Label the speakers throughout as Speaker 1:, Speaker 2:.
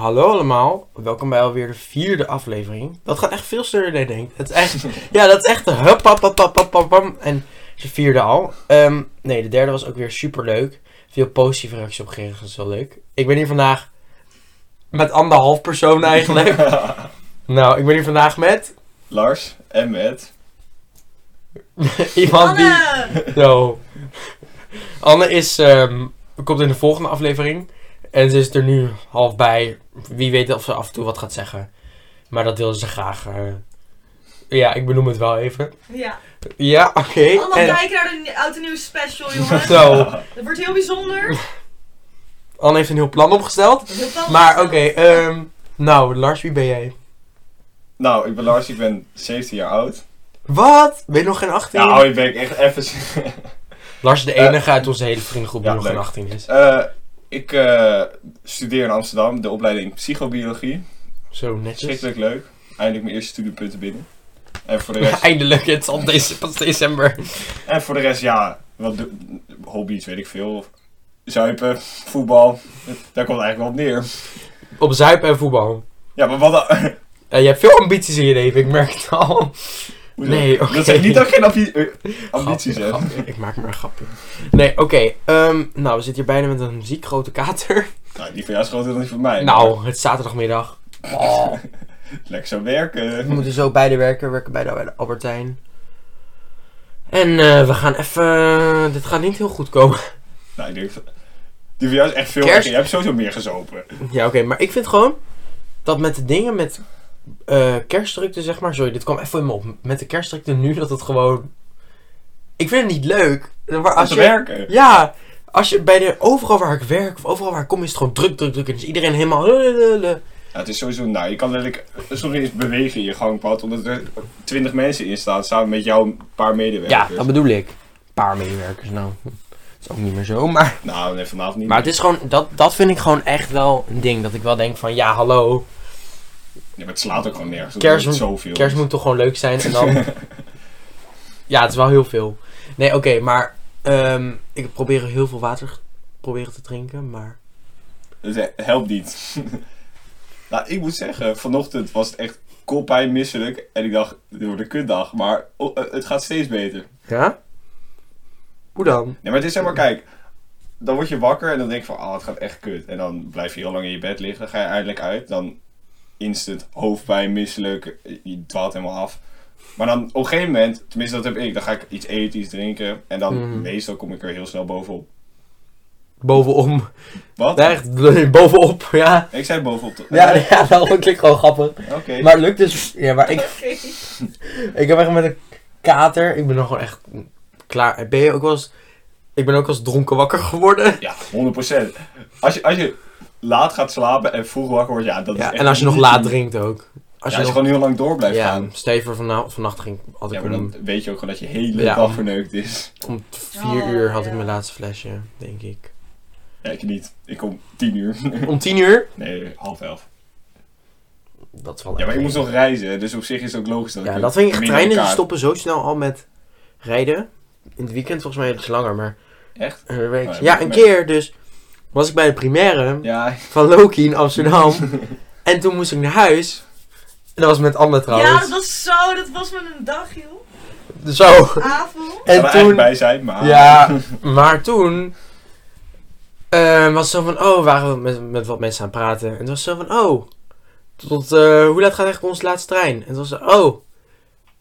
Speaker 1: Hallo allemaal, welkom bij alweer de vierde aflevering. Dat gaat echt veel sneller dan je denkt. Het is echt, ja, dat is echt de hup, hap, hap, hap, hap, hap, hap. En de vierde al. Ehm, nee, de derde was ook weer super leuk. Veel positieve reacties op gekregen, dat is wel leuk. Ik ben hier vandaag met anderhalf persoon eigenlijk. nou, ik ben hier vandaag met
Speaker 2: Lars en met.
Speaker 1: iemand die... Zo. Anne is, ehm, komt in de volgende aflevering. En ze is er nu half bij. Wie weet of ze af en toe wat gaat zeggen. Maar dat wil ze graag. eh, ja, ik benoem het wel even.
Speaker 3: Ja.
Speaker 1: Ja, oké.
Speaker 3: Allemaal
Speaker 1: En
Speaker 3: kijken naar de Oud en Nieuw special, jongens.
Speaker 1: Zo,
Speaker 3: Dat wordt heel bijzonder.
Speaker 1: Anne heeft een heel plan opgesteld.
Speaker 3: Dat is heel fantastisch.
Speaker 1: Maar oké, ehm, nou Lars, wie ben jij?
Speaker 2: Nou, ik ben Lars, ik ben 17 jaar oud.
Speaker 1: Wat? Ben je nog geen 18?
Speaker 2: Nou, ik ben echt even.
Speaker 1: Lars is de
Speaker 2: Eh,
Speaker 1: enige uit onze hele vriendengroep die
Speaker 2: ja,
Speaker 1: nog
Speaker 2: leuk.
Speaker 1: geen 18 is.
Speaker 2: Eh, ik eh, studeer in Amsterdam, de opleiding psychobiologie.
Speaker 1: Zo netjes.
Speaker 2: Schrikkelijk leuk. Eindelijk mijn eerste studiepunten binnen. En voor de
Speaker 1: Ja,
Speaker 2: rest,
Speaker 1: eindelijk, het is al deze, pas december.
Speaker 2: en voor de rest ja, wat doe- hobby's weet ik veel. Zuipen, voetbal. Daar komt het eigenlijk wel op neer.
Speaker 1: Op zuipen en voetbal.
Speaker 2: Ja, maar wat. dan-
Speaker 1: Eh, je hebt veel ambities in je leven, ik merk het al.
Speaker 2: Hoezo?
Speaker 1: Nee, oké.
Speaker 2: Dat zijn niet dat ik geen ambi- eh, ambities
Speaker 1: Grapje,
Speaker 2: heb.
Speaker 1: grapje. Ik maak maar een grapje. Nee, oké. ehm, nou, we zitten hier bijna met een ziek grote kater.
Speaker 2: Nou, die van jou is groter dan die van mij.
Speaker 1: Nou, het is zaterdagmiddag. Oh,
Speaker 2: Lekker zo
Speaker 1: we
Speaker 2: werken.
Speaker 1: moeten zo beide werken. We werken bij de Albertijn. En eh, we gaan even... Dit gaat niet heel goed komen.
Speaker 2: Nou, ik denk... dat- Die van jou is echt veel
Speaker 1: Kerst-
Speaker 2: lekker. Je hebt sowieso meer gezopen.
Speaker 1: Ja, oké. maar ik vind gewoon dat met de dingen met eh, kerstdrukte, zeg maar. Sorry, dit kwam even in me op. Met de kerstdrukte nu, dat het gewoon... Ik vind het niet leuk. Maar
Speaker 2: Om
Speaker 1: als
Speaker 2: te
Speaker 1: je,
Speaker 2: werken.
Speaker 1: Ja, als je bij de overal waar ik werk of overal waar ik kom is het gewoon druk, druk, druk. En is iedereen helemaal. eh, lulululul.
Speaker 2: Ja, het is sowieso nou. Je kan letterlijk soms niet eens bewegen in je gangpad. Omdat er twintig mensen in staan. Samen met jou een paar
Speaker 1: Ja,
Speaker 2: medewerkers.
Speaker 1: dat bedoel ik. Een paar medewerkers, nou. Dat is ook niet meer zo. Maar,
Speaker 2: Nou, nee, vanavond niet.
Speaker 1: maar het is gewoon, dat, dat vind ik gewoon echt wel een ding. Dat ik wel denk van ja, hallo.
Speaker 2: Ja, maar het slaat ook gewoon nergens. op,
Speaker 1: Kerst
Speaker 2: omdat het
Speaker 1: moet-
Speaker 2: zoveel.
Speaker 1: Kerst moet toch gewoon leuk zijn. En dan. Ja, het is wel heel veel. Nee, oké, maar ehm, ik probeer heel veel water g- proberen te drinken. Maar
Speaker 2: is. Het helpt niet. nou, ik moet zeggen. Vanochtend was het echt koppijn misselijk. En ik dacht, dit wordt een kutdag. Maar oh, eh, het gaat steeds beter.
Speaker 1: ja? Hoe dan?
Speaker 2: Nee, maar het is zeg maar, kijk. Dan word je wakker en dan denk je van, ah, het gaat echt kut. En dan blijf je heel lang in je bed liggen. Dan ga je eindelijk uit. Dan instant hoofdpijn, misselijk. Je dwaalt helemaal af. Maar dan op een gegeven moment, tenminste dat heb ik, dan ga ik iets eten, iets drinken. En dan
Speaker 1: Mhm.
Speaker 2: meestal kom ik er heel snel bovenop.
Speaker 1: Bovenom.
Speaker 2: Wat?
Speaker 1: Echt, bovenop, ja.
Speaker 2: Ik zei bovenop. toch?
Speaker 1: Ja, ja dat klinkt gewoon grappig.
Speaker 2: Oké.
Speaker 1: Maar het lukt dus. Ja, maar ik,
Speaker 3: Oké.
Speaker 1: ik heb echt met een kater. Ik ben nog gewoon echt klaar. Ben je ook wel eens. Ik ben ook als dronken wakker geworden.
Speaker 2: Ja, 100%. Als je, als je laat gaat slapen en vroeg wakker wordt, ja, dat is
Speaker 1: Ja,
Speaker 2: echt
Speaker 1: en als je nog
Speaker 2: niet-
Speaker 1: laat drinkt ook.
Speaker 2: Ja,
Speaker 1: Als je nog.
Speaker 2: gewoon heel lang door blijft
Speaker 1: Ja,
Speaker 2: gaan.
Speaker 1: stel je voor vana- vannacht ging ik- had
Speaker 2: Ja,
Speaker 1: ik
Speaker 2: maar
Speaker 1: om,
Speaker 2: dan weet je ook gewoon dat je hele
Speaker 1: Ja.
Speaker 2: dag verneukt is.
Speaker 1: om vier
Speaker 3: Oh,
Speaker 1: uur had
Speaker 3: ja.
Speaker 1: ik mijn laatste flesje, denk ik.
Speaker 2: Ja, ik niet. Ik kom tien uur.
Speaker 1: Om tien uur?
Speaker 2: nee, half elf.
Speaker 1: Dat is wel
Speaker 2: Ja, maar ik
Speaker 1: erg.
Speaker 2: moest nog reizen, dus op zich is het ook logisch dat
Speaker 1: Ja,
Speaker 2: ik...
Speaker 1: dat vind ik.
Speaker 2: minder
Speaker 1: Treinen die
Speaker 2: kaart-
Speaker 1: stoppen zo snel al met rijden. In het weekend volgens mij iets langer, maar.
Speaker 2: Echt?
Speaker 1: eh, weet ik-
Speaker 2: Oh, ja,
Speaker 1: ja,
Speaker 2: maar-
Speaker 1: een keer dus. Was ik bij de primaire.
Speaker 2: Ja,
Speaker 1: van Loki in Amsterdam. en toen moest ik naar huis. En dat was met Anne
Speaker 3: Ja,
Speaker 1: trouwens.
Speaker 3: dat was zo. Dat was maar een dag, joh.
Speaker 1: Zo.
Speaker 3: Avond.
Speaker 2: ik zou
Speaker 1: En
Speaker 2: er eigenlijk
Speaker 1: toen.
Speaker 2: bij zijn, maar...
Speaker 1: Ja, maar toen. eh, was het zo van, oh, we waren we met, met wat mensen aan het praten. En toen was het zo van, oh, tot, eh, hoe laat gaat eigenlijk onze laatste trein? En toen was het, oh,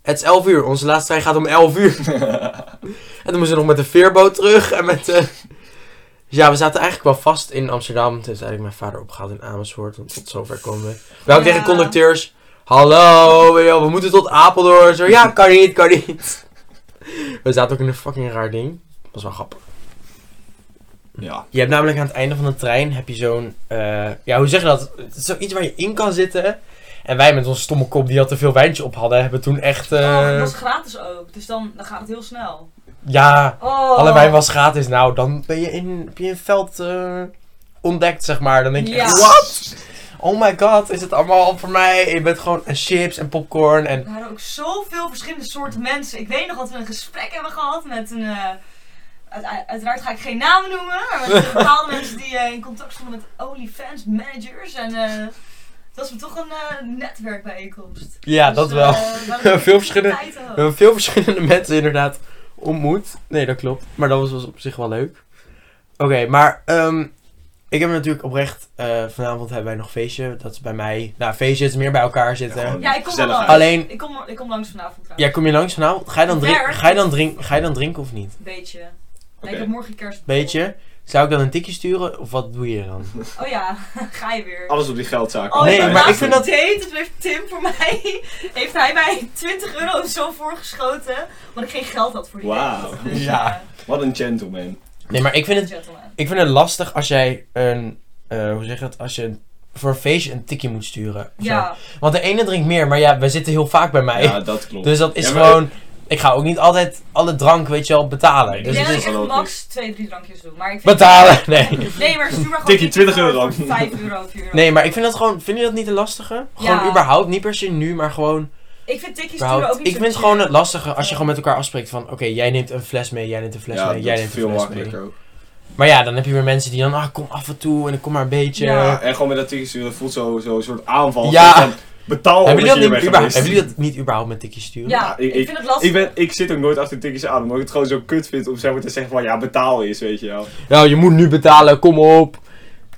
Speaker 1: het is 11 uur, onze laatste trein gaat om 11 uur. en toen moesten we nog met de veerboot terug en met de... Dus ja, we zaten eigenlijk wel vast in Amsterdam. Toen is eigenlijk mijn vader opgehaald in Amersfoort, want tot zover komen we. We hadden
Speaker 3: Ja.
Speaker 1: tegen conducteurs, hallo, weet je wel, we moeten tot Apeldoorn. Zo, ja, kan niet, kan niet. we zaten ook in een fucking raar ding. Dat was wel grappig.
Speaker 2: Ja.
Speaker 1: Je hebt namelijk aan het einde van de trein heb je zo'n. eh, ja, hoe zeg je dat? Het is zoiets waar je in kan zitten. En wij met onze stomme kop die al te veel wijntje op hadden, hebben toen echt. eh,
Speaker 3: Oh, dat was gratis ook. Dus dan, dan gaat het heel snel.
Speaker 1: ja,
Speaker 3: Oh.
Speaker 1: alle wijn was gratis. Nou, dan ben je in, heb je een veld eh, ontdekt, zeg maar. Dan denk je,
Speaker 3: Ja.
Speaker 1: echt, wat? Oh my god, is het allemaal voor mij? Je bent gewoon en chips en popcorn en.
Speaker 3: Er waren ook zoveel verschillende soorten mensen. Ik weet nog dat we een gesprek hebben gehad met een, eh, uit- uiteraard ga ik geen namen noemen, maar er zijn bepaalde mensen die eh, in contact stonden met OnlyFans managers. En eh, het was me toch een eh, netwerkbijeenkomst.
Speaker 1: Ja, dat
Speaker 3: eh,
Speaker 1: wel.
Speaker 3: we hadden
Speaker 1: Veel verschillende-
Speaker 3: activiteiten ook.
Speaker 1: We hebben veel verschillende mensen inderdaad ontmoet. Nee, dat klopt. Maar dat was, was op zich wel leuk. Oké, maar ehm, ik heb natuurlijk oprecht... eh, vanavond hebben wij nog feestje. Dat is bij mij... Nou, feestje is meer bij elkaar zitten.
Speaker 2: gewoon
Speaker 3: Ja, ik kom wel
Speaker 2: gezelligheid.
Speaker 3: langs.
Speaker 1: Alleen-
Speaker 3: Ik kom, ik kom langs vanavond trouwens.
Speaker 1: Ja, kom je langs vanavond? Ga je dan, drink,
Speaker 3: Werk.
Speaker 1: ga je dan, drink, ga je dan drinken of niet?
Speaker 3: Beetje. Ja,
Speaker 2: Oké.
Speaker 3: ik heb morgen kerst.
Speaker 1: Beetje. Zou ik dan een tikje sturen? Of wat doe je dan?
Speaker 3: Oh ja, ga je weer.
Speaker 2: Alles op die geldzaak.
Speaker 3: Oh,
Speaker 1: Nee,
Speaker 3: nee,
Speaker 1: maar ik vind
Speaker 3: vind
Speaker 1: dat-
Speaker 3: dat heet. Dat heeft Tim voor mij. Heeft hij mij 20 euro zo voorgeschoten. Omdat ik geen geld had voor die
Speaker 2: Wauw.
Speaker 3: date. Dus,
Speaker 1: Ja.
Speaker 3: eh,
Speaker 2: Wat een gentleman.
Speaker 1: Nee, maar ik vind het,
Speaker 3: gentleman.
Speaker 1: ik vind het lastig als jij een... eh, hoe zeg je dat? Als je een- voor een feestje een tikje moet sturen. of
Speaker 3: Ja,
Speaker 1: zo. Want de ene drinkt meer, maar ja, we zitten heel vaak bij mij.
Speaker 2: Ja, dat klopt.
Speaker 1: Dus dat is
Speaker 2: Ja, maar-
Speaker 1: gewoon. Ik ga ook niet altijd alle drank, weet je wel, betalen.
Speaker 2: Nee,
Speaker 3: ik
Speaker 1: Dus
Speaker 3: denk
Speaker 1: het
Speaker 3: dat
Speaker 1: is
Speaker 3: ik echt
Speaker 2: wel ook
Speaker 3: max 2, 3 drankjes doe. Maar ik vind
Speaker 1: betalen! Nee.
Speaker 3: Nee, maar stuur maar gewoon
Speaker 2: Tikkie, 20 euro.
Speaker 3: 5 euro, 4 euro.
Speaker 1: Nee, maar ik vind dat gewoon. Vind je dat niet een lastige? Gewoon
Speaker 3: Ja.
Speaker 1: überhaupt, niet per se nu, maar gewoon.
Speaker 3: Ik vind tikjes sturen ook
Speaker 1: überhaupt.
Speaker 3: niet
Speaker 1: Ik
Speaker 3: zo
Speaker 1: vind het
Speaker 3: chill.
Speaker 1: gewoon het lastige als je gewoon met elkaar afspreekt van. Oké, jij neemt een fles mee, jij neemt een fles
Speaker 2: ja,
Speaker 1: mee, jij
Speaker 2: dat
Speaker 1: neemt
Speaker 2: is
Speaker 1: een
Speaker 2: veel
Speaker 1: fles
Speaker 2: makkelijker ook.
Speaker 1: mee. Maar ja, dan heb je weer mensen die dan. Ah, kom af en toe en kom maar een beetje.
Speaker 3: Ja.
Speaker 2: Ja, en gewoon met dat tikkie dat voelt zo'n zo, zo'n soort aanval.
Speaker 1: Ja.
Speaker 2: Van, betaal
Speaker 1: Hebben
Speaker 2: omdat
Speaker 1: jullie dat, niet,
Speaker 2: hier bent
Speaker 1: überhaupt,
Speaker 2: geweest.
Speaker 1: hebben jullie dat niet überhaupt met tikjes sturen?
Speaker 3: Ja,
Speaker 2: Ja, ik-
Speaker 3: ik,
Speaker 2: ik-
Speaker 3: vind het lastig.
Speaker 2: Ik, ben, ik zit ook nooit achter tikjes aan, omdat ik het gewoon zo kut vind om zeg maar, te zeggen van ja, betaal eens, weet je wel.
Speaker 1: Nou, je moet nu betalen, kom op.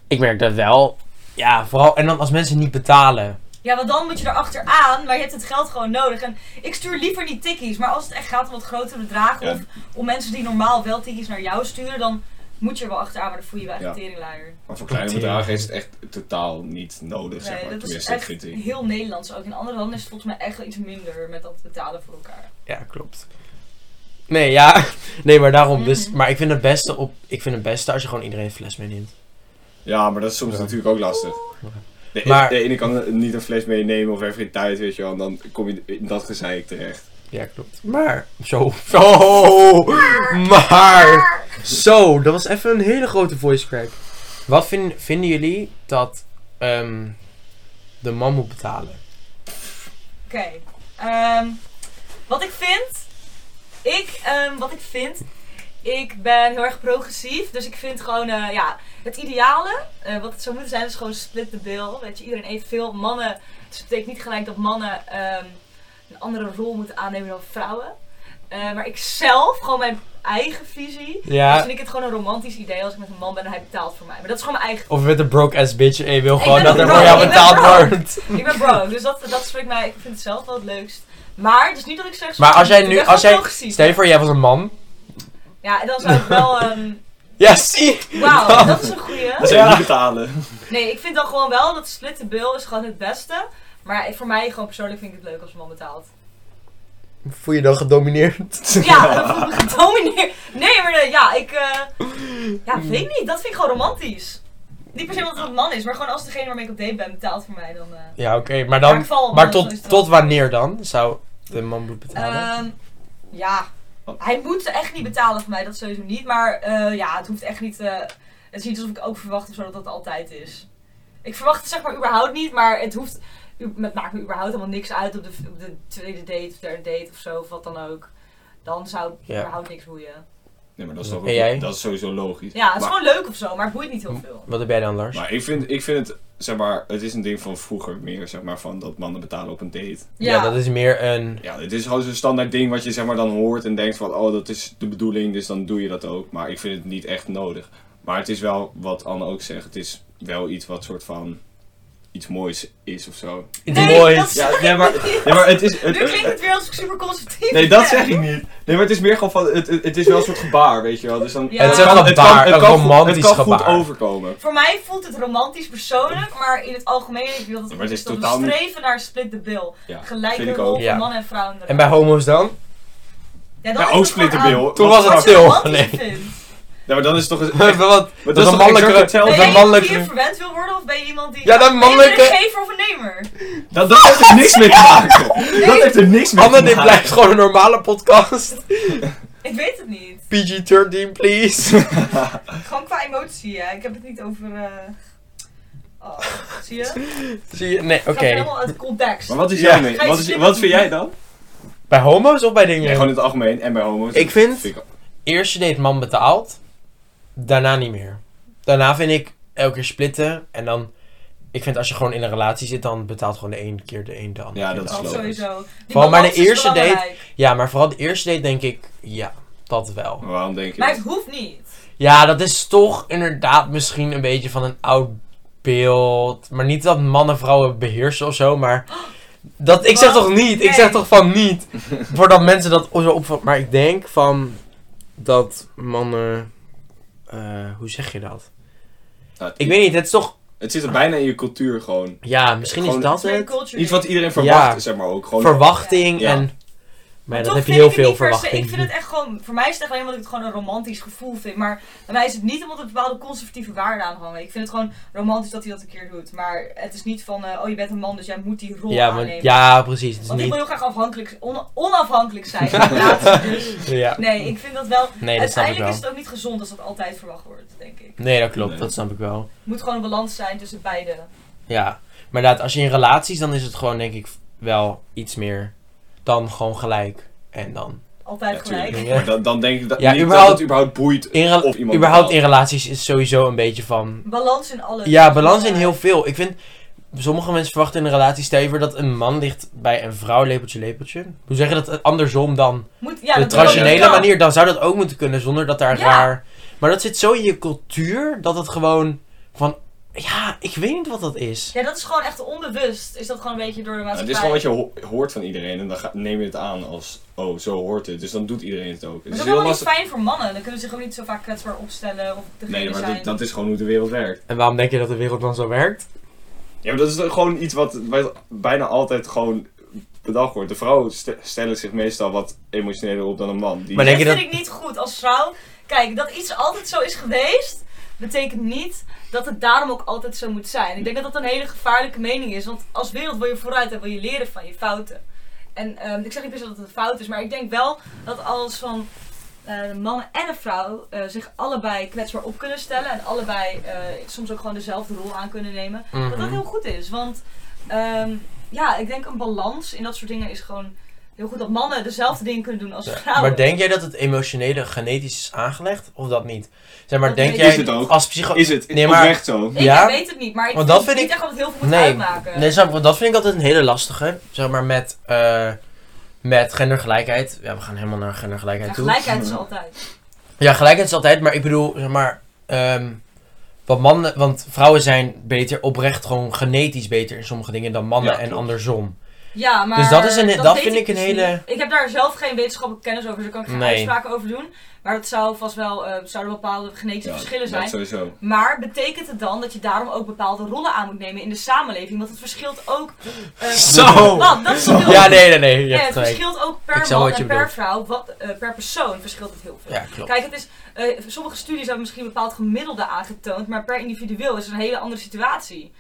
Speaker 1: Ik merk dat wel. Ja, vooral. En dan als mensen niet betalen.
Speaker 3: Ja, want dan moet je erachter aan, maar je hebt het geld gewoon nodig. En ik stuur liever niet tikkies, maar als het echt gaat om wat grotere bedragen
Speaker 2: Ja.
Speaker 3: of om mensen die normaal wel tikkies naar jou sturen, dan moet je er wel achteraan, maar dan voel je je wel echt
Speaker 2: Ja.
Speaker 3: een teringluier.
Speaker 2: Maar voor
Speaker 1: kleine
Speaker 2: kleine
Speaker 1: bedragen
Speaker 2: bedragen is het echt totaal niet nodig, zeg
Speaker 3: Nee,
Speaker 2: maar.
Speaker 3: dat is
Speaker 2: Tenminste, dat
Speaker 3: echt
Speaker 2: vind ik.
Speaker 3: heel Nederlands ook. In andere landen is het volgens mij echt wel iets minder met dat betalen voor elkaar.
Speaker 1: Ja, klopt. Nee, ja. Nee, maar daarom. Dus,
Speaker 3: Mhm.
Speaker 1: maar ik vind, het beste op, ik vind het beste als je gewoon iedereen een fles meeneemt.
Speaker 2: Ja, maar dat is soms
Speaker 1: Ja.
Speaker 2: natuurlijk ook lastig. De, e-
Speaker 1: Maar-
Speaker 2: de ene kan niet een fles meenemen of heeft geen tijd, weet je wel. En dan kom je in dat gezeik terecht.
Speaker 1: Ja, klopt. Maar. Zo. Zo. Oh, Maar. Zo. Dat was even een hele grote voice crack. Wat vin- vinden jullie dat ehm, de man moet betalen?
Speaker 3: Oké, ehm, wat ik vind, ik, ehm, wat ik vind, ik ben heel erg progressief, dus ik vind gewoon, eh, ja, het ideale, eh, wat het zou moeten zijn, is gewoon split the bill, weet je, iedereen evenveel, mannen, dus het betekent niet gelijk dat mannen ehm, een andere rol moeten aannemen dan vrouwen, Eh, maar ik zelf, gewoon mijn eigen visie, dus
Speaker 1: Ja.
Speaker 3: vind ik het gewoon een romantisch idee als ik met een man ben en hij betaalt voor mij, maar dat is gewoon mijn eigen,
Speaker 1: Of met een broke ass bitch. En je wil
Speaker 3: Ik
Speaker 1: gewoon
Speaker 3: ben
Speaker 1: dat
Speaker 3: een
Speaker 1: er voor
Speaker 3: broke,
Speaker 1: jou
Speaker 3: ik ben
Speaker 1: betaald
Speaker 3: broke.
Speaker 1: wordt.
Speaker 3: ik ben bro, dus dat, dat spreekt mij, ik vind het zelf wel het leukst. Maar het is niet dat ik zeg...
Speaker 1: Maar als jij
Speaker 3: ik
Speaker 1: nu.
Speaker 3: ben
Speaker 1: Als
Speaker 3: gewoon
Speaker 1: jij,
Speaker 3: progressief.
Speaker 1: stel je voor, jij was een man.
Speaker 3: Ja, en dan zou ik wel. ehm
Speaker 1: Ja, zie.
Speaker 3: Wauw, dat is een goeie.
Speaker 2: Dat zijn
Speaker 1: Ja.
Speaker 2: niet betalen.
Speaker 3: Nee, ik vind dan gewoon wel dat split the bill is gewoon het beste. Maar ik- voor mij gewoon persoonlijk vind ik het leuk als een man betaalt.
Speaker 1: Voel je dan gedomineerd?
Speaker 3: Ja, dat voel ik me gedomineerd. Nee, maar eh, ja, ik... eh, ja, weet niet. Dat vind ik gewoon romantisch. Niet per se omdat het een man is, maar gewoon als degene waarmee ik op date ben betaalt voor mij, dan... eh,
Speaker 1: Ja, oké, maar
Speaker 3: Maar
Speaker 1: dan.
Speaker 3: ik val,
Speaker 1: Maar
Speaker 3: dus dan is
Speaker 1: tot,
Speaker 3: het
Speaker 1: tot
Speaker 3: wel-
Speaker 1: wanneer dan zou de man moet betalen?
Speaker 3: Ehm, ja,
Speaker 2: Oh.
Speaker 3: hij moet echt niet betalen voor mij, dat sowieso niet. Maar eh, ja, het hoeft echt niet. eh, het is niet alsof ik ook verwacht of zo dat dat altijd is. Ik verwacht het zeg maar überhaupt niet, maar het hoeft. u- Het maakt me überhaupt helemaal niks uit op de, op de tweede date of derde date of zo, of wat dan ook. Dan zou ik
Speaker 1: Ja.
Speaker 3: überhaupt niks boeien.
Speaker 2: Nee, maar dat is, toch
Speaker 1: En
Speaker 2: ook-
Speaker 1: jij?
Speaker 2: dat is sowieso logisch.
Speaker 3: Ja, het is
Speaker 2: maar,
Speaker 3: gewoon leuk of zo, maar het boeit niet heel veel.
Speaker 1: Wat heb jij dan, Lars?
Speaker 2: maar ik vind, ik vind het, zeg maar, het is een ding van vroeger meer, zeg maar, van dat mannen betalen op een date.
Speaker 1: ja. dat is meer een.
Speaker 2: Ja, het is gewoon zo'n standaard ding wat je zeg maar dan hoort en denkt van, oh, dat is de bedoeling, dus dan doe je dat ook. Maar ik vind het niet echt nodig. Maar het is wel, wat Anne ook zegt, het is wel iets wat soort van iets moois is of zo.
Speaker 1: Iets
Speaker 3: Nee,
Speaker 1: moois.
Speaker 3: dat-
Speaker 2: Ja, nee, maar, nee, maar het is... het-
Speaker 3: Nu klinkt het weer alsof ik super conservatief
Speaker 2: nee, dat
Speaker 3: ben.
Speaker 2: zeg ik niet. Nee, maar het is meer gewoon van, het, het, het is wel een soort gebaar, weet je wel. Dus dan,
Speaker 3: Ja. Het is
Speaker 1: een gebaar, een
Speaker 2: goed-
Speaker 1: romantisch
Speaker 2: Het kan goed
Speaker 1: gebaar.
Speaker 2: overkomen.
Speaker 3: Voor mij voelt het romantisch persoonlijk, maar in het algemeen ik wil dat
Speaker 2: Ja, maar het is
Speaker 3: dat we
Speaker 2: totaal niet-
Speaker 3: streven naar split the bill.
Speaker 2: Ja, vind
Speaker 3: Gelijke
Speaker 2: ik
Speaker 3: rol
Speaker 2: ook.
Speaker 3: van
Speaker 1: Ja.
Speaker 3: man en vrouw in de
Speaker 1: En bij homo's dan?
Speaker 3: Ja, dan
Speaker 2: Ja,
Speaker 3: is
Speaker 2: ook
Speaker 3: het
Speaker 2: split the
Speaker 3: gewoon
Speaker 2: bill.
Speaker 3: aan-
Speaker 2: hoor.
Speaker 1: Toen
Speaker 2: Wat
Speaker 1: was het
Speaker 2: grappig.
Speaker 1: stil.
Speaker 3: Wat je
Speaker 1: Oh, nee.
Speaker 3: vindt.
Speaker 2: Ja, maar dan is het toch...
Speaker 1: Wat- wat,
Speaker 2: dat
Speaker 1: dat
Speaker 2: is
Speaker 1: is een
Speaker 2: toch exact
Speaker 1: mannelijke.
Speaker 2: hetzelfde?
Speaker 1: Dat
Speaker 3: Ben
Speaker 1: is
Speaker 3: jij
Speaker 1: een
Speaker 2: dan
Speaker 3: iemand die
Speaker 1: mannelijke.
Speaker 3: een verwend wil worden of ben je iemand die...
Speaker 1: Ja, dat
Speaker 3: Ben je
Speaker 1: mannelijke-
Speaker 3: een gever of een nemer?
Speaker 2: Dat, dat heeft er niks mee te maken. Dat heeft er niks mee te
Speaker 1: Anne,
Speaker 2: maken.
Speaker 1: dit blijft gewoon een normale podcast.
Speaker 3: Ik weet het niet.
Speaker 1: PG-13, please.
Speaker 3: Gewoon qua emotie, hè. Ik heb het niet over... eh, Oh, zie je? Het
Speaker 1: Zie je? Nee, oké.
Speaker 3: gaat helemaal uit context.
Speaker 2: Maar wat is
Speaker 1: Ja.
Speaker 2: jouw mening?
Speaker 3: Ga je
Speaker 2: Wat, is,
Speaker 3: slim
Speaker 2: wat
Speaker 3: doen?
Speaker 2: vind jij dan?
Speaker 1: Bij homo's of bij dingen?
Speaker 2: Ja, gewoon in het algemeen en bij homo's.
Speaker 1: Ik vind-
Speaker 2: ik-
Speaker 1: Eerst je deed man betaald. Daarna niet meer. Daarna vind ik elke keer splitten. En dan... Ik vind als je gewoon in een relatie zit, dan betaalt gewoon de een keer de een de ander.
Speaker 2: Ja,
Speaker 1: keer
Speaker 2: dat
Speaker 1: de
Speaker 2: is
Speaker 1: ander.
Speaker 2: logisch.
Speaker 3: Oh, Sowieso. Die
Speaker 1: Vooral bij de
Speaker 3: balans is
Speaker 1: eerste date-
Speaker 3: belangrijk.
Speaker 1: Ja, maar vooral de eerste date denk ik, ja, dat wel.
Speaker 2: Maar waarom denk je
Speaker 3: Maar het
Speaker 2: dat?
Speaker 3: hoeft niet.
Speaker 1: Ja, dat is toch inderdaad misschien een beetje van een oud beeld. Maar niet dat mannen vrouwen beheersen of zo, maar... Dat, ik zeg
Speaker 3: Wat?
Speaker 1: toch niet, ik
Speaker 3: Nee.
Speaker 1: zeg toch van niet. Voordat mensen dat zo opvatten. Maar ik denk van dat mannen... eh, hoe zeg je dat?
Speaker 2: Nou,
Speaker 1: Ik weet niet, het is toch...
Speaker 2: Het zit er bijna in je cultuur gewoon.
Speaker 1: Ja, misschien is
Speaker 2: Gewoon-
Speaker 1: dat
Speaker 3: Meer
Speaker 1: het.
Speaker 3: culture
Speaker 2: Iets wat
Speaker 3: date.
Speaker 2: iedereen verwacht,
Speaker 1: Ja.
Speaker 2: zeg maar ook. Gewoon,
Speaker 1: Verwachting
Speaker 2: Ja.
Speaker 1: en... Maar ja,
Speaker 3: Toch
Speaker 1: dan heb je
Speaker 3: vind
Speaker 1: heel
Speaker 3: ik het
Speaker 1: veel
Speaker 3: niet per se- Ik vind
Speaker 1: verwachting.
Speaker 3: het echt gewoon, voor mij is het echt alleen omdat ik het gewoon een romantisch gevoel vind. Maar bij mij is het niet omdat er bepaalde conservatieve waarden aan hangen. Ik vind het gewoon romantisch dat hij dat een keer doet. Maar het is niet van, eh, oh je bent een man, dus jij moet die rol
Speaker 1: Ja, maar,
Speaker 3: aannemen.
Speaker 1: ja, precies. Het is
Speaker 3: Want ik wil
Speaker 1: niet...
Speaker 3: heel graag afhankelijk, on- onafhankelijk zijn. van de relatie, dus.
Speaker 1: Ja.
Speaker 3: Nee, ik vind dat wel.
Speaker 1: Nee, dat snap ik
Speaker 3: Uiteindelijk
Speaker 1: wel.
Speaker 3: is het ook niet gezond als dat altijd verwacht wordt, denk ik.
Speaker 1: Nee, dat klopt.
Speaker 2: Nee.
Speaker 1: Dat snap ik wel.
Speaker 3: Het moet gewoon een balans zijn tussen beide.
Speaker 1: Ja. Maar inderdaad, als je in relaties, dan is het gewoon denk ik wel iets meer dan gewoon gelijk. En dan.
Speaker 3: Altijd gelijk.
Speaker 2: natuurlijk.
Speaker 1: Ja.
Speaker 2: Maar dan, dan denk ik dat,
Speaker 1: Ja,
Speaker 2: niet
Speaker 1: überhaupt-
Speaker 2: dat het überhaupt boeit
Speaker 1: In rela-
Speaker 2: of iemand
Speaker 1: überhaupt in
Speaker 2: betaalt.
Speaker 1: relaties is sowieso een beetje van.
Speaker 3: Balans in alles.
Speaker 1: Ja, balans in heel veel. Ik vind. Sommige mensen verwachten in een relatie stevig dat een man ligt bij een vrouw lepeltje lepeltje. Hoe zeg je dat eh, andersom dan?
Speaker 3: Moet, ja,
Speaker 1: de
Speaker 3: dat wil ik
Speaker 1: traditionele
Speaker 3: wel.
Speaker 1: manier, dan zou dat ook moeten kunnen zonder dat daar
Speaker 3: Ja.
Speaker 1: raar. Maar dat zit zo in je cultuur dat het gewoon van. Ja, ik weet niet wat dat is.
Speaker 3: Ja, dat is gewoon echt onbewust. Is dat gewoon een beetje door de
Speaker 2: Nou, het
Speaker 3: maatschappij.
Speaker 2: is gewoon wat je ho- hoort van iedereen en dan ga- neem je het aan als, oh, zo hoort het. Dus dan doet iedereen het ook.
Speaker 3: Maar
Speaker 2: Het
Speaker 3: dat
Speaker 2: is Dus
Speaker 3: is
Speaker 2: heel
Speaker 3: helemaal niet
Speaker 2: lastig.
Speaker 3: fijn voor mannen. Dan kunnen ze zich ook niet zo vaak kwetsbaar opstellen of degene
Speaker 2: Nee, maar
Speaker 3: zijn.
Speaker 2: dat, dat is gewoon hoe de wereld werkt.
Speaker 1: En waarom denk je dat de wereld dan zo werkt?
Speaker 2: Ja, maar dat is toch gewoon iets wat, wat bijna altijd gewoon bedacht wordt. De vrouwen ste- stellen zich meestal wat emotioneler op dan een man. Die,
Speaker 1: Maar
Speaker 3: Dat
Speaker 1: denk je
Speaker 3: vind
Speaker 1: dat-
Speaker 3: ik niet goed als vrouw. Kijk, dat iets altijd zo is geweest, betekent niet dat het daarom ook altijd zo moet zijn. Ik denk dat dat een hele gevaarlijke mening is. Want als wereld wil je vooruit en wil je leren van je fouten. En ehm, ik zeg niet per se dat het een fout is, maar ik denk wel dat als van eh, een man en een vrouw eh, zich allebei kwetsbaar op kunnen stellen. En allebei eh, soms ook gewoon dezelfde rol aan kunnen nemen. Dat dat
Speaker 1: Mhm.
Speaker 3: heel goed is. Want ehm, ja, ik denk een balans in dat soort dingen is gewoon heel goed. Dat mannen dezelfde dingen kunnen doen als
Speaker 1: Ja,
Speaker 3: vrouwen.
Speaker 1: Maar denk jij dat het emotionele genetisch is aangelegd of dat niet? Zeg maar,
Speaker 3: Dat
Speaker 1: denk
Speaker 3: weet
Speaker 2: ik. Is
Speaker 1: jij
Speaker 2: het ook?
Speaker 1: als psycho...
Speaker 2: Is het? Is
Speaker 1: Nee,
Speaker 2: het
Speaker 1: maar-
Speaker 2: oprecht zo?
Speaker 3: Ik
Speaker 1: Ja?
Speaker 3: weet het niet, maar ik
Speaker 1: Want
Speaker 3: vind,
Speaker 1: dat
Speaker 3: het
Speaker 1: vind
Speaker 3: niet echt dat het heel veel moet
Speaker 1: Nee,
Speaker 3: uitmaken.
Speaker 1: nee snap ik, want dat vind ik altijd een hele lastige. Zeg maar met, eh, met gendergelijkheid. Ja, we gaan helemaal naar gendergelijkheid
Speaker 3: Ja,
Speaker 1: toe.
Speaker 3: gelijkheid is altijd.
Speaker 1: Ja, gelijkheid is altijd, maar ik bedoel, zeg maar... ehm, want, mannen, want vrouwen zijn beter oprecht, gewoon genetisch beter in sommige dingen dan mannen
Speaker 2: Ja,
Speaker 1: en
Speaker 2: klopt.
Speaker 1: andersom.
Speaker 3: Ja, maar
Speaker 1: Dus dat is een- dat
Speaker 3: weet
Speaker 1: vind ik een
Speaker 3: dus
Speaker 1: hele-
Speaker 3: niet. Ik heb daar zelf geen wetenschappelijke kennis over, dus daar kan ik geen
Speaker 1: Nee.
Speaker 3: uitspraken over doen. Maar dat zou vast wel, eh, zouden bepaalde genetische
Speaker 2: Ja,
Speaker 3: verschillen
Speaker 2: dat
Speaker 3: zijn.
Speaker 2: sowieso.
Speaker 3: Maar betekent het dan dat je daarom ook bepaalde rollen aan moet nemen in de samenleving? Want het verschilt ook... eh,
Speaker 1: Zo!
Speaker 3: Wat? Dat is het bedoel.
Speaker 1: Ja, nee, nee, nee, je
Speaker 3: Ja,
Speaker 1: hebt
Speaker 3: het
Speaker 1: gelijk.
Speaker 3: verschilt ook
Speaker 1: Ik
Speaker 3: per
Speaker 1: snap
Speaker 3: man
Speaker 1: wat je
Speaker 3: en per
Speaker 1: bedoelt.
Speaker 3: vrouw, wat, eh, per persoon verschilt het heel veel.
Speaker 1: Ja, klopt.
Speaker 3: Kijk, het is, eh, sommige studies hebben misschien een bepaald gemiddelde aangetoond, maar per individueel is het een hele andere situatie.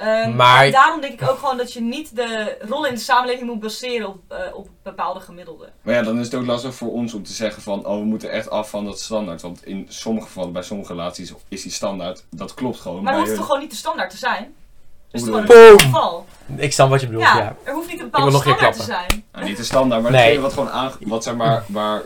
Speaker 3: Ehm,
Speaker 1: Maar-
Speaker 3: en daarom denk ik ook gewoon dat je niet de rollen in de samenleving moet baseren op, eh, op bepaalde gemiddelden.
Speaker 2: Maar ja, dan is het ook lastig voor ons om te zeggen van, oh, we moeten echt af van dat standaard. Want in sommige gevallen, bij sommige relaties, is die standaard, dat klopt gewoon. bij
Speaker 3: Maar dat hoeft
Speaker 2: hun-
Speaker 3: toch gewoon niet de standaard te zijn? Dus het
Speaker 2: Hoe
Speaker 3: is
Speaker 2: bedoel
Speaker 3: gewoon een
Speaker 1: Boom.
Speaker 3: geval.
Speaker 1: Ik snap wat je bedoelt,
Speaker 3: Ja,
Speaker 1: ja.
Speaker 3: er hoeft niet een
Speaker 1: Ik
Speaker 3: bepaalde
Speaker 1: wil nog een keer
Speaker 3: standaard te zijn.
Speaker 2: Nou, niet de standaard, maar
Speaker 1: Nee.
Speaker 2: datgene wat gewoon aange... Wat zeg maar, waar...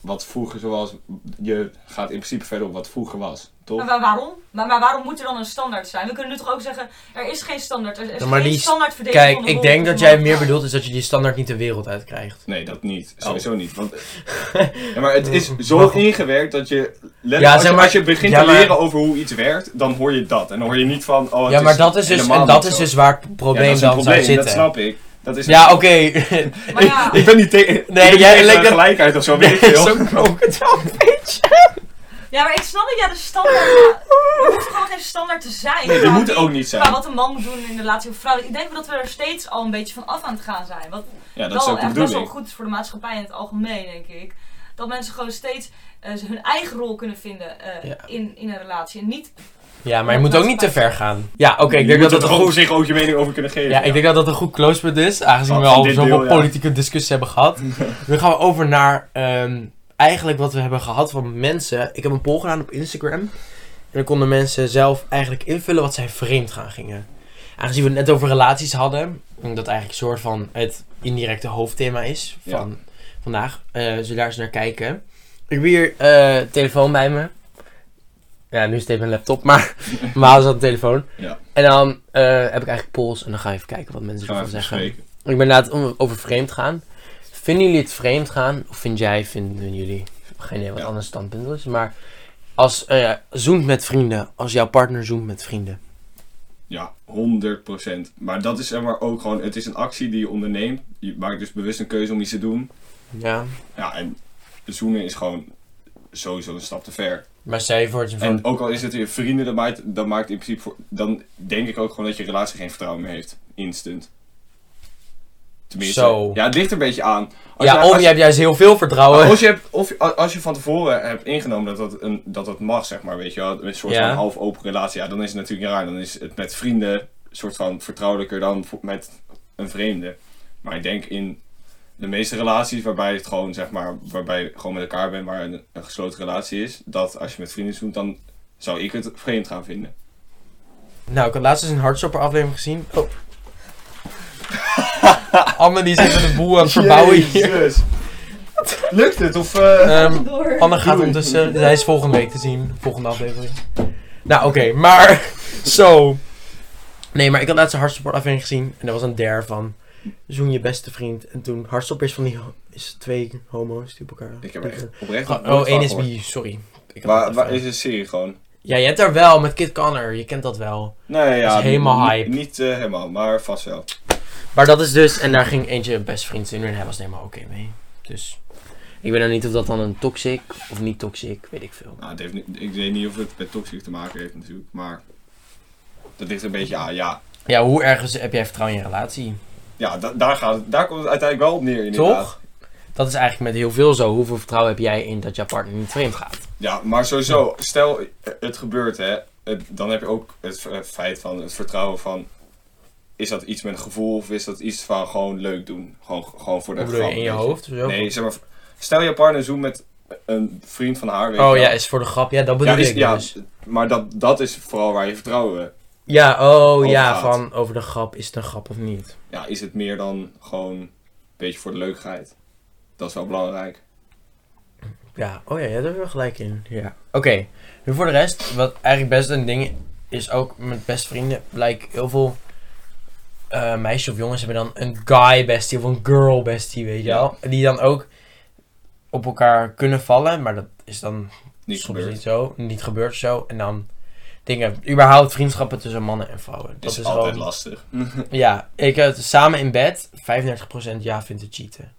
Speaker 2: Wat vroeger zoals... Je gaat in principe verder op wat vroeger was, toch?
Speaker 3: Maar, waar- waarom? Maar, maar waarom moet er dan een standaard zijn? We kunnen nu toch ook zeggen, er is geen standaard. Er is
Speaker 1: Ja, maar
Speaker 3: geen
Speaker 1: die-
Speaker 3: standaardverdeling
Speaker 1: Kijk,
Speaker 3: van de
Speaker 1: ik
Speaker 3: rollen
Speaker 1: denk dat
Speaker 3: tussen
Speaker 1: jij
Speaker 3: man en
Speaker 1: meer
Speaker 3: vrouw.
Speaker 1: bedoelt is dat je die standaard niet de wereld uitkrijgt.
Speaker 2: Nee, dat niet.
Speaker 1: Oh.
Speaker 2: Sowieso niet. Want, eh, ja, maar het is zo
Speaker 1: Mag ik-
Speaker 2: ingewerkt dat je... Letterlijk,
Speaker 1: Ja,
Speaker 2: als,
Speaker 1: zeg
Speaker 2: je,
Speaker 1: maar-
Speaker 2: als je begint
Speaker 1: ja,
Speaker 2: te
Speaker 1: maar-
Speaker 2: leren over hoe iets werkt, dan hoor je dat. En dan hoor je niet van... Oh, het
Speaker 1: ja, maar dat is dus,
Speaker 2: helemaal
Speaker 1: en dat
Speaker 2: niet
Speaker 1: is
Speaker 2: zo.
Speaker 1: dus waar het
Speaker 2: Ja,
Speaker 1: probleem
Speaker 2: dat is een
Speaker 1: dan
Speaker 2: probleem,
Speaker 1: zou zitten.
Speaker 2: dat snap ik. Dat is
Speaker 1: Ja, oké.
Speaker 3: Maar ja,
Speaker 2: Ik ben niet tegen... ik ben niet
Speaker 1: jij
Speaker 2: tegen
Speaker 1: lijkt dat-
Speaker 2: gelijkheid of zo, weet ik veel.
Speaker 1: Zo'n krokodil.
Speaker 3: Ja, maar ik snap dat jij de standaard. Er hoeft gewoon geen standaard te zijn.
Speaker 2: Nee, die
Speaker 3: Qua
Speaker 2: moet
Speaker 3: wie-
Speaker 2: ook niet
Speaker 3: Qua
Speaker 2: zijn.
Speaker 3: wat een man moet doen in de relatie met vrouwen. Ik denk dat we er steeds al een beetje van af aan het gaan zijn. Wat
Speaker 2: Ja, dat is
Speaker 3: wel
Speaker 2: ook de
Speaker 3: echt best wel
Speaker 2: bedoeling.
Speaker 3: goed is voor de maatschappij in het algemeen, denk ik. Dat mensen gewoon steeds eh, ze hun eigen rol kunnen vinden eh,
Speaker 1: Ja.
Speaker 3: in, in een relatie. En niet.
Speaker 1: Ja, maar je moet ook niet te ver gaan. Ja, oké, ik denk dat dat een
Speaker 2: op
Speaker 1: goed...
Speaker 2: zich ook je mening over kunnen geven.
Speaker 1: Ja, ik denk dat dat een goed closepunt is, aangezien
Speaker 2: Van-
Speaker 1: we
Speaker 2: van
Speaker 1: al
Speaker 2: Oh, dit
Speaker 1: zoveel
Speaker 2: deel, ja.
Speaker 1: politieke discussies hebben gehad. Nu gaan we over naar ehm, eigenlijk wat we hebben gehad van mensen. Ik heb een poll gedaan op Instagram. En dan konden mensen zelf eigenlijk invullen wat zij vreemd gaan gingen. Aangezien we het net over relaties hadden, omdat dat eigenlijk een soort van het indirecte hoofdthema is van vandaag, eh zullen we daar eens naar kijken. Ik heb hier eh, telefoon bij me. Ja, nu is het even een laptop, maar normaal is dat een telefoon.
Speaker 2: Ja.
Speaker 1: En dan eh, heb ik eigenlijk polls en dan ga ik even kijken wat mensen
Speaker 2: Gaan we
Speaker 1: ervan
Speaker 2: even
Speaker 1: zeggen.
Speaker 2: bespreken.
Speaker 1: Ik ben inderdaad om- over vreemd gaan. Vinden jullie het vreemd gaan? Of vind jij, vinden jullie? Geen idee wat
Speaker 2: Ja.
Speaker 1: anders standpunt is. Maar als eh zoent met vrienden. Als jouw partner zoent met vrienden.
Speaker 2: Ja, 100%. Maar dat is zeg maar ook gewoon, het is een actie die je onderneemt. Je maakt dus bewust een keuze om iets te doen.
Speaker 1: Ja.
Speaker 2: Ja, en zoenen is gewoon sowieso een stap te ver.
Speaker 1: Maar stel je voor het is
Speaker 2: En
Speaker 1: van...
Speaker 2: ook al is het je vrienden, dat maakt, dat maakt in principe voor, dan denk ik ook gewoon dat je relatie geen vertrouwen meer heeft. Instant. Tenminste.
Speaker 1: Zo.
Speaker 2: Ja, het ligt er een beetje aan. Als jij-
Speaker 1: Ja, of
Speaker 2: als Oh,
Speaker 1: je hebt juist heel veel vertrouwen.
Speaker 2: Als je, hebt, of, a- als je van tevoren hebt ingenomen dat dat, een, dat dat mag, zeg maar, weet je wel, een soort
Speaker 1: Ja.
Speaker 2: van half open relatie, ja, dan is het natuurlijk raar. Dan is het met vrienden een soort van vertrouwelijker dan vo- met een vreemde. Maar ik denk in de meeste relaties waarbij het gewoon, zeg maar, waarbij je gewoon met elkaar bent, maar een, een gesloten relatie is, dat als je met vrienden zoent, dan zou ik het vreemd gaan vinden.
Speaker 1: Nou, ik had laatst eens een hardstopper aflevering gezien. Oh. Anne die zit met een boel aan het verbouwen hier.
Speaker 2: Jezus. Lukt het? Of, eh,
Speaker 1: Ehm,
Speaker 3: Door.
Speaker 1: Anne gaat ondertussen, zij is volgende week te zien, volgende aflevering. Nou, oké, maar zo. Nee, maar ik had laatst een hardstopper aflevering gezien en daar was een dare van. Zoen je beste vriend. En toen hardstoppers van die ho- is twee homo's die op elkaar.
Speaker 2: Ik heb er echt oprecht nog nooit
Speaker 1: Oh, één
Speaker 2: van
Speaker 1: is
Speaker 2: gehoord.
Speaker 1: bi, sorry. Ik had
Speaker 2: Waar,
Speaker 1: het
Speaker 2: waar
Speaker 1: even-
Speaker 2: is de serie gewoon?
Speaker 1: Ja, je hebt daar wel met Kid Connor, je kent dat wel.
Speaker 2: Nee, ja.
Speaker 1: Dat is helemaal
Speaker 2: niet-
Speaker 1: hype.
Speaker 2: Niet eh, helemaal, maar vast wel.
Speaker 1: Maar dat is dus, en daar ging eentje best vriend in en hij was er helemaal oké mee. Dus ik weet nou niet of dat dan een toxic of niet toxic, weet ik veel.
Speaker 2: Nou, het heeft, ni- ik weet niet of het met toxic te maken heeft natuurlijk, maar dat ligt er een beetje aan. Ja,
Speaker 1: Ja, hoe erg is- heb jij vertrouwen in je relatie?
Speaker 2: ja da- daar, gaat, het- daar komt het uiteindelijk wel op neer inderdaad.
Speaker 1: Toch? Dat is eigenlijk met heel veel zo. Hoeveel vertrouwen heb jij in dat jouw partner niet vreemd gaat?
Speaker 2: Ja, maar sowieso, stel eh, het gebeurt hè, het- dan heb je ook het eh, feit van het vertrouwen van, is dat iets met een gevoel of is dat iets van gewoon leuk doen? Gewoon, gewoon voor de
Speaker 1: Hoe bedoel je, in
Speaker 2: grap,
Speaker 1: je
Speaker 2: weet
Speaker 1: hoofd? of zo?
Speaker 2: Nee, zeg maar, stel je partner zoen met een vriend van haar, weet je
Speaker 1: oh
Speaker 2: wel.
Speaker 1: ja, is voor de grap. Ja, dat bedoel
Speaker 2: ja, is,
Speaker 1: ik
Speaker 2: ja,
Speaker 1: dus.
Speaker 2: maar dat, dat is vooral waar je vertrouwen.
Speaker 1: Ja, oh ja,
Speaker 2: Overgaat.
Speaker 1: van over de grap, is het een grap of niet?
Speaker 2: ja, is het meer dan gewoon een beetje voor de leukheid. Dat is wel belangrijk.
Speaker 1: Ja, oh ja, ja daar heb je wel gelijk in. Ja. Oké, nu voor de rest, wat eigenlijk best een ding is ook met best vrienden, blijkt heel veel eh, meisjes of jongens hebben dan een guy bestie of een girl bestie, weet je
Speaker 2: Ja.
Speaker 1: wel. Die dan ook op elkaar kunnen vallen, maar dat is dan
Speaker 2: Niet
Speaker 1: soms
Speaker 2: gebeurd.
Speaker 1: niet zo, niet gebeurt zo. En dan dingen, überhaupt vriendschappen tussen mannen en vrouwen. Dat
Speaker 2: is,
Speaker 1: is,
Speaker 2: altijd
Speaker 1: gewoon,
Speaker 2: lastig.
Speaker 1: Ja, ik heb het samen in bed, 35% ja vindt het cheaten.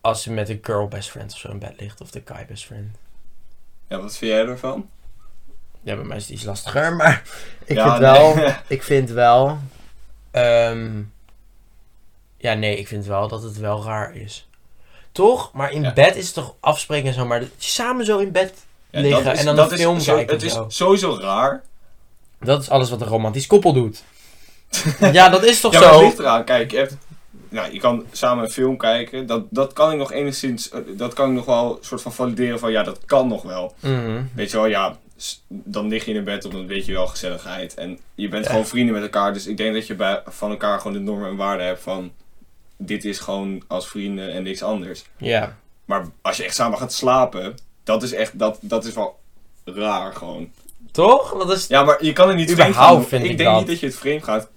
Speaker 1: Als je met een girl best friend of zo in bed ligt, of de guy best friend.
Speaker 2: Ja, wat vind jij ervan?
Speaker 1: Ja, bij mij is het iets lastiger, maar ik
Speaker 2: ja,
Speaker 1: vind
Speaker 2: nee.
Speaker 1: wel, ik vind wel, ehm, ja nee, ik vind wel dat het wel raar is. Toch? Maar in
Speaker 2: Ja.
Speaker 1: bed is het toch afspreken en zo, maar dat je samen zo in bed,
Speaker 2: Ja,
Speaker 1: liggen en dan een film
Speaker 2: is,
Speaker 1: kijken
Speaker 2: Het
Speaker 1: of zo.
Speaker 2: is sowieso raar.
Speaker 1: dat is alles wat een romantisch koppel doet. ja, dat is toch
Speaker 2: ja, maar
Speaker 1: zo?
Speaker 2: het ligt eraan. Kijk, je hebt... Nou, je kan samen een film kijken. Dat, dat kan ik nog enigszins... eh, Dat kan ik nog wel een soort van valideren van... Ja, dat kan nog wel.
Speaker 1: Mhm.
Speaker 2: Weet je wel, ja... s- Dan lig je in bed op een beetje wel gezelligheid. En je bent
Speaker 1: Ja.
Speaker 2: gewoon vrienden met elkaar. Dus ik denk dat je bij, van elkaar gewoon de normen en waarden hebt van... Dit is gewoon als vrienden en niks anders.
Speaker 1: Ja.
Speaker 2: Maar als je echt samen gaat slapen, dat is echt, dat, dat is wel raar gewoon.
Speaker 1: Toch? Dat is...
Speaker 2: Ja, maar je kan het niet vreemd
Speaker 1: Überhaupt
Speaker 2: gaan noemen.
Speaker 1: vind
Speaker 2: ik
Speaker 1: ik
Speaker 2: denk
Speaker 1: dat.
Speaker 2: niet dat je het vreemd gaat,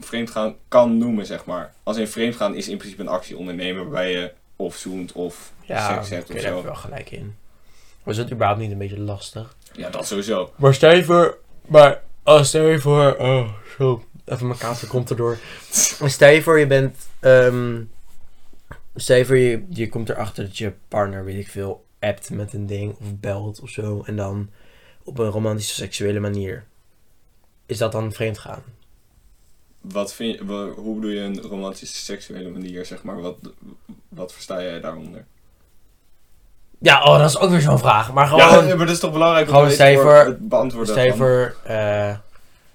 Speaker 2: vreemd gaan kan noemen, zeg maar. Als in vreemd gaan is in principe een actie ondernemen waarbij je of zoent of
Speaker 1: Ja,
Speaker 2: seks
Speaker 1: daar
Speaker 2: hebt
Speaker 1: kun
Speaker 2: of
Speaker 1: je daar
Speaker 2: zo.
Speaker 1: wel gelijk in. Was het überhaupt niet een beetje lastig?
Speaker 2: Ja, dat sowieso.
Speaker 1: Maar stel je voor... Maar als stel je voor... Oh, zo. Even mijn kaas komt erdoor. Stel je voor je bent... ehm, stel je voor je, je komt erachter dat je partner, weet ik veel, appt met een ding of belt of zo. En dan op een romantische seksuele manier. Is dat dan vreemd gaan?
Speaker 2: Wat vind je, wa- hoe bedoel je een romantische seksuele manier, zeg maar? Wat, wat versta jij daaronder?
Speaker 1: Ja, oh, dat is ook weer zo'n vraag. Maar gewoon...
Speaker 2: Ja, eh, maar dat is toch belangrijk om
Speaker 1: gewoon
Speaker 2: te
Speaker 1: stel je
Speaker 2: weten
Speaker 1: voor-
Speaker 2: het beantwoorden
Speaker 1: Dus Stel je
Speaker 2: van-
Speaker 1: voor, eh,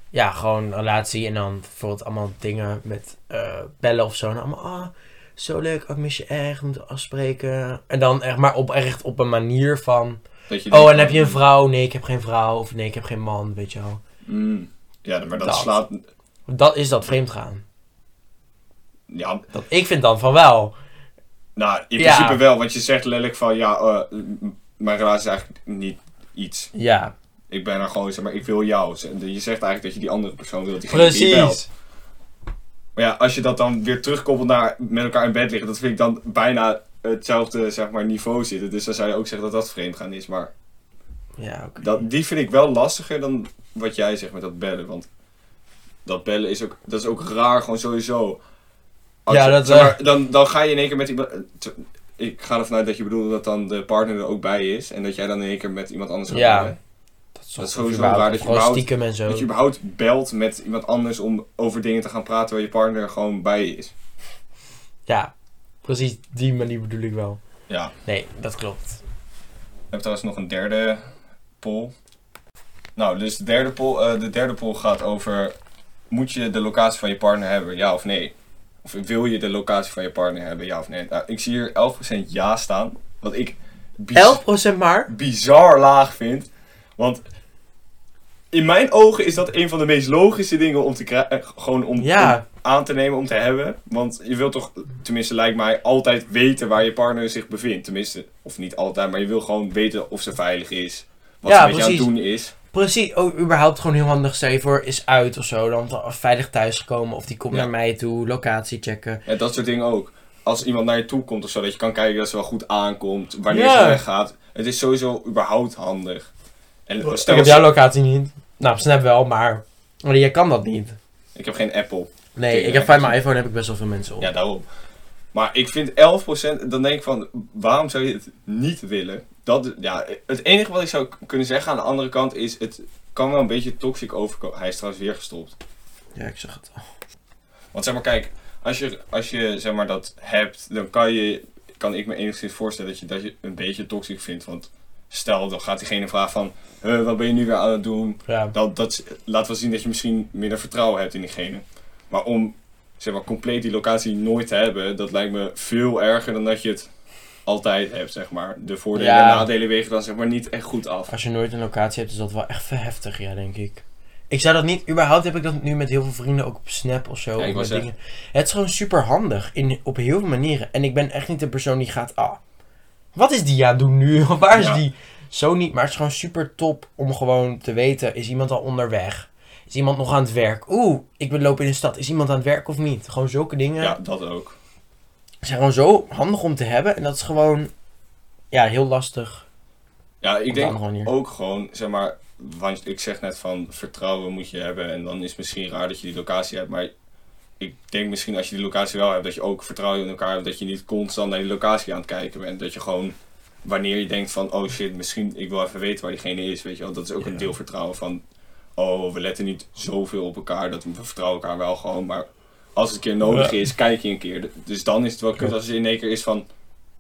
Speaker 1: ja, gewoon een relatie en dan bijvoorbeeld allemaal dingen met eh, bellen of zo. En allemaal, ah, zo leuk, ik mis je echt, we moeten afspreken. En dan echt maar op, echt op een manier van,
Speaker 2: dat je
Speaker 1: oh,
Speaker 2: denkt
Speaker 1: en heb je een
Speaker 2: van-
Speaker 1: vrouw? Nee, ik heb geen vrouw. Of nee, ik heb geen man, weet je wel.
Speaker 2: Mm. Ja, maar dat,
Speaker 1: Dat.
Speaker 2: slaat...
Speaker 1: Dat is dat vreemd gaan.
Speaker 2: Ja,
Speaker 1: Dat, ik vind dan van wel.
Speaker 2: Nou, in
Speaker 1: Ja.
Speaker 2: principe wel, want je zegt lelijk van ja, eh, m- mijn relatie is eigenlijk niet iets.
Speaker 1: Ja,
Speaker 2: Ik ben er gewoon, zeg maar, ik wil jou. Ze- Je zegt eigenlijk dat je die andere persoon wil, die die je belt.
Speaker 1: precies.
Speaker 2: Maar ja, als je dat dan weer terugkoppelt naar met elkaar in bed liggen, dat vind ik dan bijna hetzelfde, zeg maar, niveau zitten. Dus dan zou je ook zeggen dat dat vreemdgaan is. Maar
Speaker 1: Ja, oké.
Speaker 2: dat, die vind ik wel lastiger dan wat jij zegt met dat bellen. Want dat bellen is ook, dat is ook raar, gewoon sowieso. Als
Speaker 1: Ja,
Speaker 2: je-
Speaker 1: dat,
Speaker 2: zeg maar,
Speaker 1: eh,
Speaker 2: dan, dan ga je in één keer met iemand. te- Ik ga ervan uit dat je bedoelt dat dan de partner er ook bij is. En dat jij dan in één keer met iemand anders gaat
Speaker 1: Ja.
Speaker 2: bellen.
Speaker 1: Dat
Speaker 2: Dat is
Speaker 1: toch
Speaker 2: sowieso
Speaker 1: überhaupt-
Speaker 2: raar dat je
Speaker 4: Gewoon
Speaker 2: überhaupt,
Speaker 4: stiekem en zo.
Speaker 2: dat je überhaupt belt met iemand anders om over dingen te gaan praten waar je partner er gewoon bij is.
Speaker 4: Ja, precies die manier bedoel ik wel.
Speaker 2: Ja.
Speaker 1: Nee, dat klopt.
Speaker 2: We hebben trouwens nog een derde poll. Nou, dus de derde poll, eh, de derde poll gaat over... Moet je de locatie van je partner hebben, ja of nee? Of wil je de locatie van je partner hebben, ja of nee? Nou, ik zie hier 11% ja staan. Wat ik biz-
Speaker 4: 11% maar.
Speaker 2: bizar laag vind. Want in mijn ogen is dat een van de meest logische dingen om te krijgen. eh, Gewoon om, om
Speaker 4: Ja,
Speaker 2: aan te nemen, om te hebben. Want je wilt toch, tenminste lijkt mij, altijd weten waar je partner zich bevindt. Tenminste, of niet altijd, maar je wil gewoon weten of ze veilig is. Wat
Speaker 1: Ja,
Speaker 2: ze met je aan het
Speaker 1: precies.
Speaker 2: doen is.
Speaker 1: Precies, ook überhaupt gewoon heel handig. Stel je voor, is uit of zo, dan te- veilig thuisgekomen. Of die komt
Speaker 2: Ja.
Speaker 1: naar mij toe, locatie checken.
Speaker 2: Ja, dat soort dingen ook. Als iemand naar je toe komt of zo, dat je kan kijken dat ze wel goed aankomt, wanneer
Speaker 4: Ja.
Speaker 2: ze weggaat. Het is sowieso überhaupt handig. En
Speaker 1: ik
Speaker 2: stel
Speaker 1: heb
Speaker 2: als-
Speaker 1: jouw locatie niet. Nou, Snap wel, maar... Maar jij kan dat niet.
Speaker 2: ik heb geen Apple.
Speaker 1: Nee,
Speaker 2: Oké,
Speaker 1: ik heb
Speaker 2: ja,
Speaker 1: van mijn iPhone heb ik best wel veel mensen op.
Speaker 2: Ja, daarom. Maar ik vind 11%, dan denk ik van, waarom zou je het niet willen? Dat, ja, het enige wat ik zou k- kunnen zeggen aan de andere kant is, het kan wel een beetje toxic overkomen. Hij is trouwens weer gestopt.
Speaker 1: Ja, ik zag het al.
Speaker 2: Want zeg maar, kijk, als je, als je zeg maar dat hebt, dan kan je, kan ik me enigszins voorstellen dat je dat je een beetje toxic vindt. Want stel, dan gaat diegene vragen van, "Huh, wat ben je nu weer aan het doen?
Speaker 1: Ja.
Speaker 2: dat, dat laat wel zien dat je misschien minder vertrouwen hebt in diegene. Maar om zeg maar, compleet die locatie nooit te hebben, dat lijkt me veel erger dan dat je het altijd hebt, zeg maar. De voordelen
Speaker 1: Ja.
Speaker 2: en nadelen wegen dan zeg maar niet echt goed af.
Speaker 1: Als je nooit een locatie hebt, is dat wel echt heftig, ja, denk ik. Ik zou dat niet, überhaupt heb ik dat nu met heel veel vrienden, ook op Snap of zo.
Speaker 2: Ja, ik
Speaker 1: of
Speaker 2: wou
Speaker 1: met
Speaker 2: zeggen.
Speaker 1: dingen. Het is gewoon super handig in, op heel veel manieren. En ik ben echt niet de persoon die gaat, ah, wat is die aan het doen nu? Of waar is
Speaker 2: Ja.
Speaker 1: die? Zo niet, maar het is gewoon super top om gewoon te weten, is iemand al onderweg? Is iemand nog aan het werk? Oeh, ik ben lopen in de stad. Is iemand aan het werk of niet? Gewoon zulke dingen
Speaker 2: Ja, dat ook.
Speaker 1: zijn gewoon zo handig om te hebben. En dat is gewoon, ja, heel lastig.
Speaker 2: Ja, ik
Speaker 1: Op de
Speaker 2: denk
Speaker 1: andere manier.
Speaker 2: ook gewoon, zeg maar, want ik zeg net van vertrouwen moet je hebben en dan is het misschien raar dat je die locatie hebt, maar ik denk misschien als je die locatie wel hebt, dat je ook vertrouwen in elkaar hebt, dat je niet constant naar die locatie aan het kijken bent, dat je gewoon wanneer je denkt van, oh shit, misschien ik wil even weten waar diegene is, weet je wel, dat is ook
Speaker 1: Ja.
Speaker 2: een deel vertrouwen van, oh, we letten niet zoveel op elkaar, dat we we vertrouwen elkaar wel gewoon, maar als het een keer nodig
Speaker 1: Ja.
Speaker 2: is, kijk je een keer. Dus dan is het wel kut als het in één keer is van,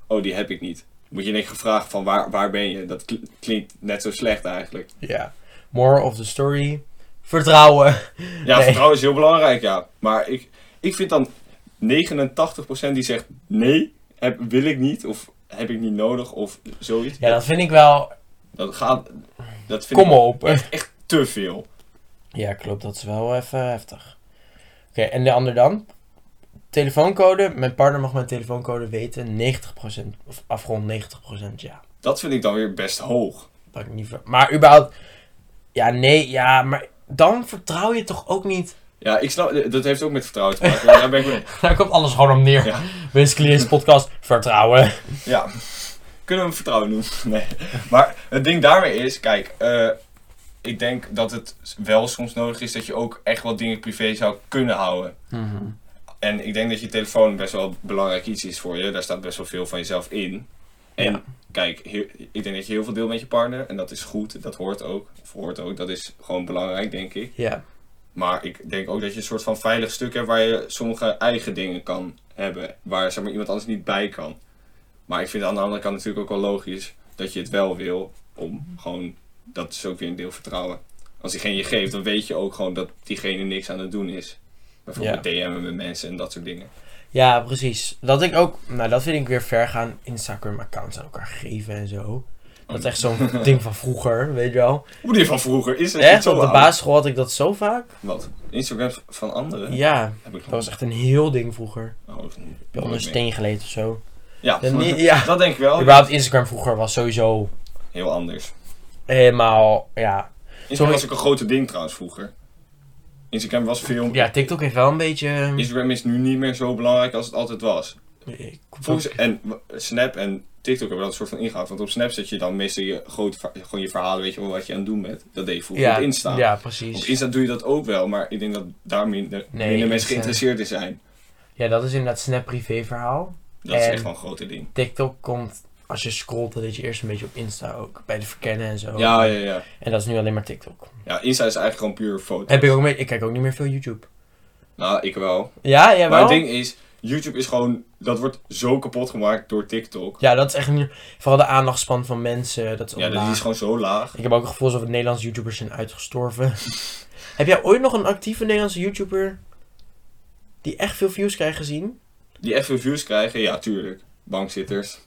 Speaker 2: oh, die heb ik niet. Moet je in één keer vragen van waar, waar ben je? Dat kl- klinkt net zo slecht eigenlijk.
Speaker 1: Ja. More of the story. Vertrouwen.
Speaker 2: Ja,
Speaker 1: Nee.
Speaker 2: vertrouwen is heel belangrijk, ja. Maar ik, ik vind dan 89% die zegt nee, heb, wil ik niet of heb ik niet nodig of zoiets.
Speaker 1: Ja, dat vind ik wel.
Speaker 2: dat gaat, dat vind
Speaker 1: Kom
Speaker 2: ik
Speaker 1: op.
Speaker 2: echt te veel.
Speaker 1: Ja, klopt. Dat is wel even heftig. Oké, en de ander dan? Telefooncode. Mijn partner mag mijn telefoongcode weten. 90%. Of afgerond 90%, ja.
Speaker 2: Dat vind ik dan weer best hoog.
Speaker 1: Dat ik niet ver- Maar überhaupt. Ja, nee, ja, maar dan vertrouw je toch ook niet.
Speaker 2: Ja, ik snap, dat heeft ook met vertrouwen te maken. want Daar ben ik mee.
Speaker 1: Daar komt alles gewoon om neer.
Speaker 2: Ja.
Speaker 1: Winsky Lee's podcast. Vertrouwen.
Speaker 2: Ja, kunnen we hem vertrouwen doen? Nee. Maar het ding daarmee is, kijk, eh, ik denk dat het wel soms nodig is dat je ook echt wat dingen privé zou kunnen houden.
Speaker 1: Mhm.
Speaker 2: En ik denk dat je telefoon best wel een belangrijk iets is voor je. Daar staat best wel veel van jezelf in. En
Speaker 1: Ja.
Speaker 2: kijk, heel- ik denk dat je heel veel deelt met je partner. En dat is goed, dat hoort ook. Of hoort ook, dat is gewoon belangrijk, denk ik.
Speaker 1: Ja.
Speaker 2: Maar ik denk ook dat je een soort van veilig stuk hebt waar je sommige eigen dingen kan hebben. Waar zeg maar, iemand anders niet bij kan. Maar ik vind aan de andere kant natuurlijk ook wel logisch dat je het wel wil. Om gewoon, dat is ook weer een deel vertrouwen. Als diegene je geeft, dan weet je ook gewoon dat diegene niks aan het doen is. Bijvoorbeeld DM'en met mensen en dat soort dingen.
Speaker 1: Ja, precies. Dat ik ook, nou dat vind ik weer ver gaan. Instagram-accounts aan elkaar geven en zo. Dat is echt zo'n ding van vroeger, weet je wel.
Speaker 2: Hoe die van vroeger is het niet
Speaker 1: Echt,
Speaker 2: zo
Speaker 1: op de
Speaker 2: oud?
Speaker 1: basisschool had ik dat zo vaak.
Speaker 2: Wat? Instagram van anderen?
Speaker 1: Ja,
Speaker 2: Heb ik
Speaker 1: dat was echt een heel ding vroeger.
Speaker 2: Oh, dat is
Speaker 1: Heb
Speaker 2: niet-
Speaker 1: je onder een
Speaker 2: nooit meer.
Speaker 1: steen geleefd of zo.
Speaker 2: Ja,
Speaker 1: Ja, niet- ja.
Speaker 2: dat denk ik wel.
Speaker 1: Überhaupt Instagram vroeger was sowieso
Speaker 2: Heel anders.
Speaker 1: helemaal, ja.
Speaker 2: Instagram was
Speaker 1: Sorry.
Speaker 2: ook een grote ding trouwens vroeger. Instagram was veel...
Speaker 1: Ja, TikTok heeft wel een beetje...
Speaker 2: Instagram is nu niet meer zo belangrijk als het altijd was.
Speaker 1: Ik-
Speaker 2: Volgens, en w- Snap en TikTok hebben dat soort van ingehaald. Want op Snap zet je dan meestal je, groot, va- gewoon je verhalen, weet je wel, wat je aan het doen bent. Dat deed je vroeger
Speaker 1: ja,
Speaker 2: op Insta.
Speaker 1: Ja,
Speaker 2: Op
Speaker 1: precies.
Speaker 2: Insta doe je dat ook wel, maar ik denk dat daar minder,
Speaker 1: Nee, eh,
Speaker 2: minder
Speaker 1: Insta-
Speaker 2: mensen geïnteresseerd in zijn.
Speaker 1: Ja, dat is inderdaad Snap privé verhaal.
Speaker 2: Dat is
Speaker 1: En-
Speaker 2: echt wel een grote ding.
Speaker 1: TikTok komt, als je scrolt, dan zit je eerst een beetje op Insta ook. Bij de verkennen en zo.
Speaker 2: Ja, ja, ja.
Speaker 1: En dat is nu alleen maar TikTok.
Speaker 2: Ja, Insta is eigenlijk gewoon puur foto.
Speaker 1: Heb ik, ook mee, ik kijk ook niet meer veel YouTube.
Speaker 2: Nou, ik wel.
Speaker 1: Ja, jij
Speaker 2: Maar
Speaker 1: wel?
Speaker 2: het ding is, YouTube is gewoon, dat wordt zo kapot gemaakt door TikTok.
Speaker 1: Ja, dat is echt niet... Vooral de aandachtspan van mensen, dat is
Speaker 2: Ja,
Speaker 1: ja,
Speaker 2: dat is gewoon zo laag.
Speaker 1: Ik heb ook het gevoel alsof de Nederlandse YouTubers zijn uitgestorven. heb jij ooit nog een actieve Nederlandse YouTuber die echt veel views krijgt gezien?
Speaker 2: Die echt veel views krijgen, ja, tuurlijk. Bankzitters.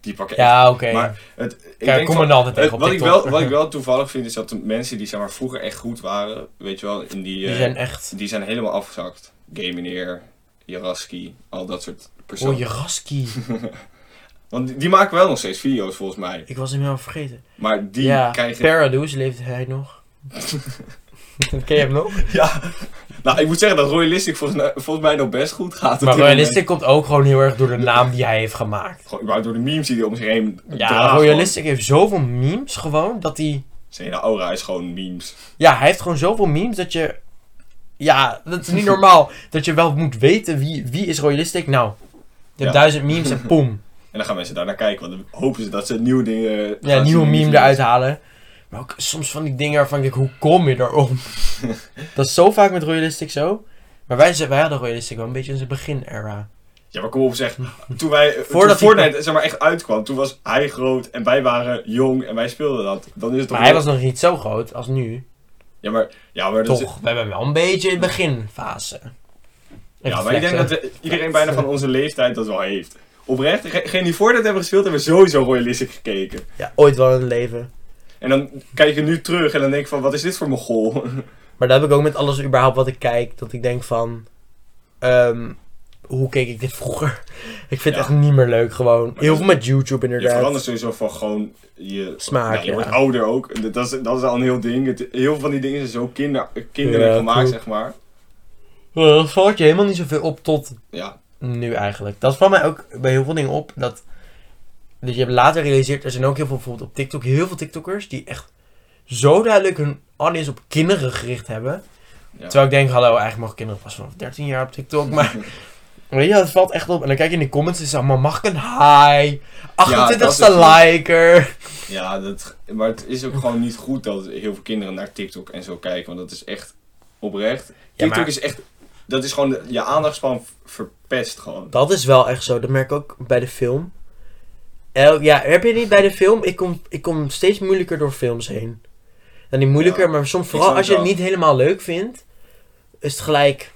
Speaker 2: Die pakken echt
Speaker 1: Ja, oké.
Speaker 2: Maar het, ik
Speaker 1: Kijk,
Speaker 2: denk
Speaker 1: kom
Speaker 2: van-
Speaker 1: er dan altijd
Speaker 2: het-
Speaker 1: tegen op
Speaker 2: wat, ik
Speaker 1: TikTok.
Speaker 2: wel, wat ik wel toevallig vind, is dat de mensen die zeg maar, vroeger echt goed waren, weet je wel, in die, eh,
Speaker 1: Die zijn echt...
Speaker 2: die zijn helemaal afgezakt. Gamineer, Jaraski, al dat soort personen.
Speaker 1: Oh, Jaraski.
Speaker 2: Want die, die maken wel nog steeds video's volgens mij.
Speaker 1: ik was hem helemaal vergeten.
Speaker 2: Maar die
Speaker 1: ja,
Speaker 2: krijgen...
Speaker 1: Paradoes leeft hij nog. Ken je hem nog?
Speaker 2: Ja. Nou, ik moet zeggen dat Royalistic volgens, mij- volgens mij nog best goed gaat. op
Speaker 1: Maar
Speaker 2: dit moment.
Speaker 1: Royalistic komt ook gewoon heel erg door de naam die hij heeft gemaakt.
Speaker 2: Gewoon überhaupt door de memes die hij om zich heen
Speaker 1: Ja,
Speaker 2: draagt,
Speaker 1: Royalistic heeft zoveel memes gewoon dat hij...
Speaker 2: gewoon. Zijn hele aura is gewoon memes.
Speaker 1: Ja, hij heeft gewoon zoveel memes dat je... Ja, dat is niet normaal. dat je wel moet weten wie, wie is Royalistic. Nou, je hebt
Speaker 2: Ja.
Speaker 1: duizend memes en pom.
Speaker 2: En dan gaan mensen daar naar kijken, want dan hopen ze dat ze nieuwe dingen...
Speaker 1: Ja,
Speaker 2: gaan
Speaker 1: nieuwe
Speaker 2: zien.
Speaker 1: meme eruit halen. Maar ook soms van die dingen waarvan ik denk, hoe kom je daarop? dat is zo vaak met Royalistic zo. Maar wij, ze- wij hadden Royalistic wel een beetje in zijn begin-era.
Speaker 2: Ja, maar kom op zeg. Toen wij eh,
Speaker 1: Voordat
Speaker 2: toen
Speaker 1: die-
Speaker 2: Fortnite zeg maar, echt uitkwam, toen was hij groot en wij waren jong en wij speelden dat. Dan is het toch
Speaker 1: Maar hij
Speaker 2: wel- Dus
Speaker 1: was nog niet zo groot als nu.
Speaker 2: Ja, maar, ja, maar, dat is-
Speaker 1: Toch, we hebben hem wel een beetje in de beginfase. En
Speaker 2: ja, maar ik denk dat
Speaker 1: reflecten.
Speaker 2: we- iedereen bijna van onze leeftijd dat wel heeft. Oprecht, degene die Fortnite hebben gespeeld, hebben sowieso Royalistic gekeken.
Speaker 1: Ja, ooit wel in het leven.
Speaker 2: En dan kijk je nu terug en dan denk ik van, wat is dit voor mijn goal?
Speaker 1: Maar dat heb ik ook met alles überhaupt wat ik kijk. Dat ik denk van... ehm, hoe keek ik dit vroeger? ik vind
Speaker 2: Ja.
Speaker 1: het echt niet meer leuk gewoon.
Speaker 2: dat
Speaker 1: Heel
Speaker 2: is-
Speaker 1: veel met YouTube
Speaker 2: Je
Speaker 1: inderdaad.
Speaker 2: verandert sowieso van gewoon je...
Speaker 1: Smaak,
Speaker 2: Ja, je
Speaker 1: ja.
Speaker 2: wordt ouder ook. Dat is, dat is al een heel ding. Het- heel veel van die dingen zijn zo kinder, kinderlijk
Speaker 1: Ja,
Speaker 2: gemaakt,
Speaker 1: klopt.
Speaker 2: zeg maar.
Speaker 1: Eh, Dat valt je helemaal niet zoveel op tot
Speaker 2: Ja,
Speaker 1: nu eigenlijk. Dat valt mij ook bij heel veel dingen op. Dat, dat je hebt later realiseert, er zijn ook heel veel bijvoorbeeld op TikTok, heel veel TikTokkers die echt zo duidelijk hun audience op kinderen gericht hebben.
Speaker 2: Ja.
Speaker 1: Terwijl ik denk, hallo, eigenlijk mogen kinderen pas vanaf 13 jaar op TikTok, maar... Weet je, dat valt echt op. En dan kijk je in de comments en is het allemaal, mag ik een hi? 28ste
Speaker 2: dat is het.
Speaker 1: liker.
Speaker 2: Ja, dat, maar het is ook gewoon niet goed dat heel veel kinderen naar TikTok en zo kijken. Want dat is echt oprecht. TikTok
Speaker 1: maar-
Speaker 2: is echt. Dat is gewoon de- je aandachtspan v- verpest gewoon.
Speaker 1: Dat is wel echt zo, dat merk ik ook bij de film. El, ja, heb je niet bij de film? Ik kom, ik kom steeds moeilijker door films heen. Dan niet moeilijker,
Speaker 2: Ja,
Speaker 1: maar soms
Speaker 2: ik
Speaker 1: vooral
Speaker 2: snap
Speaker 1: als je
Speaker 2: het
Speaker 1: het niet helemaal leuk vindt, is het gelijk...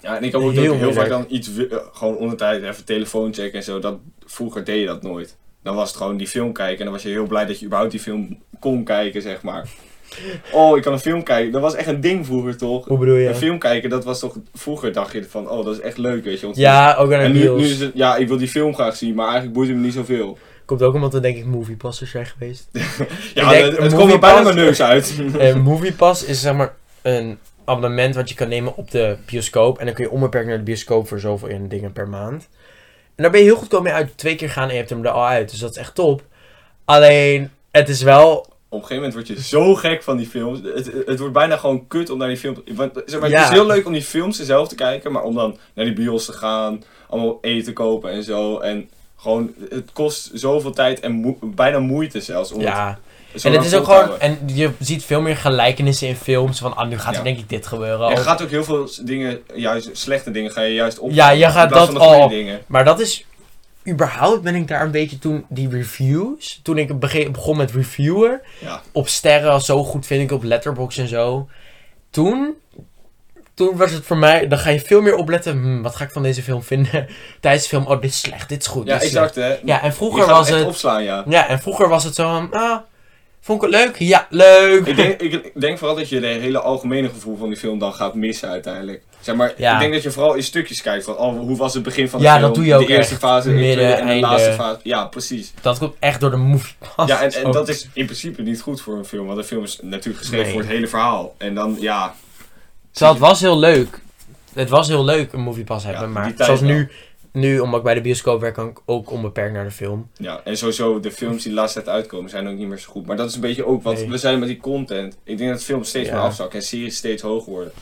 Speaker 2: Ja, en ik heb ook dat
Speaker 1: Heel
Speaker 2: ik heel vaak dan
Speaker 1: moeilijk.
Speaker 2: iets wi- eh, gewoon onder tijd even telefoon checken en zo. Dat, vroeger deed je dat nooit. Dan was het gewoon die film kijken en dan was je heel blij dat je überhaupt die film kon kijken, zeg maar. Oh, ik kan een film kijken. Dat was echt een ding vroeger toch?
Speaker 1: Hoe bedoel
Speaker 2: Een
Speaker 1: je?
Speaker 2: film kijken, dat was toch vroeger dacht je van, oh, dat is echt leuk, weet je. want-
Speaker 1: Ja, ook aan
Speaker 2: En
Speaker 1: de
Speaker 2: nu, nu is
Speaker 1: deals.
Speaker 2: het, ja, ik wil die film graag zien, maar eigenlijk boeit het me niet zoveel.
Speaker 1: Komt ook omdat we denk ik moviepassers zijn geweest.
Speaker 2: Ja,
Speaker 1: Ik denk,
Speaker 2: het,
Speaker 1: een
Speaker 2: het komt
Speaker 1: movie
Speaker 2: er bijna
Speaker 1: pass-
Speaker 2: mijn neus uit.
Speaker 1: Eh moviepass is zeg maar een abonnement wat je kan nemen op de bioscoop. En dan kun je onbeperkt naar de bioscoop voor zoveel in dingen per maand. En daar ben je heel goedkoop mee uit. Twee keer gaan en je hebt hem er al uit. Dus dat is echt top. Alleen, het is wel...
Speaker 2: Op een gegeven moment word je zo gek van die films. Het, het wordt bijna gewoon kut om naar die films... Want, zeg maar,
Speaker 1: Ja.
Speaker 2: Het is heel leuk om die films zelf te kijken, maar om dan naar die bios te gaan, allemaal eten kopen en zo. En gewoon, het kost zoveel tijd en moe- bijna moeite zelfs. Om
Speaker 1: Ja,
Speaker 2: het zo
Speaker 1: en het
Speaker 2: lang
Speaker 1: is
Speaker 2: vol
Speaker 1: ook
Speaker 2: te
Speaker 1: gewoon...
Speaker 2: houden.
Speaker 1: En je ziet veel meer gelijkenissen in films. Van, ah, nu gaat
Speaker 2: Ja.
Speaker 1: er denk ik dit gebeuren.
Speaker 2: Er
Speaker 1: Of-
Speaker 2: gaat ook heel veel s- dingen, juist slechte dingen, ga je juist op.
Speaker 1: Ja, je
Speaker 2: in
Speaker 1: gaat dat
Speaker 2: plaats van de goede
Speaker 1: al-
Speaker 2: Dingen.
Speaker 1: Maar dat is. Überhaupt ben ik daar een beetje toen die reviews. Toen ik bege- begon met reviewen.
Speaker 2: Ja.
Speaker 1: Op sterren als zo goed vind ik op Letterboxd en zo. Toen. Toen was het voor mij. Dan ga je veel meer opletten. hmm, wat ga ik van deze film vinden? Tijdens de film. Oh, dit is slecht. Dit is goed.
Speaker 2: Ja,
Speaker 1: dit is
Speaker 2: exact hè.
Speaker 1: slecht. Ja, en
Speaker 2: je
Speaker 1: vroeger
Speaker 2: gaat
Speaker 1: was
Speaker 2: echt
Speaker 1: het.
Speaker 2: opslaan, ja.
Speaker 1: Ja, en vroeger was het zo. van, Ah, vond ik het leuk? Ja, leuk.
Speaker 2: Ik denk, ik denk vooral dat je de hele algemene gevoel van die film dan gaat missen uiteindelijk. Zeg maar,
Speaker 1: Ja.
Speaker 2: ik denk dat je vooral in stukjes kijkt. Van, oh, hoe was het begin van de
Speaker 1: Ja,
Speaker 2: film?
Speaker 1: dat doe je ook
Speaker 2: De eerste
Speaker 1: echt.
Speaker 2: fase, de
Speaker 1: Midden,
Speaker 2: tweede en de
Speaker 1: einde.
Speaker 2: laatste fase. Ja, precies.
Speaker 1: Dat komt echt door de moviepas.
Speaker 2: Ja, en, en
Speaker 1: ook.
Speaker 2: dat is in principe niet goed voor een film. Want een film is natuurlijk geschreven
Speaker 1: Nee.
Speaker 2: voor het hele verhaal. En dan, ja,
Speaker 1: Terwijl het was heel leuk. Het was heel leuk een moviepas hebben,
Speaker 2: Ja,
Speaker 1: maar
Speaker 2: die tijd
Speaker 1: zoals
Speaker 2: wel.
Speaker 1: nu, nu, omdat ik bij de bioscoop werk, kan ik ook onbeperkt naar de film.
Speaker 2: Ja, en sowieso de films die de laatste tijd uitkomen zijn ook niet meer zo goed. Maar dat is een beetje ook wat
Speaker 1: Nee.
Speaker 2: we zijn met die content. Ik denk dat films steeds
Speaker 1: Ja.
Speaker 2: meer afzakken en series steeds hoger worden.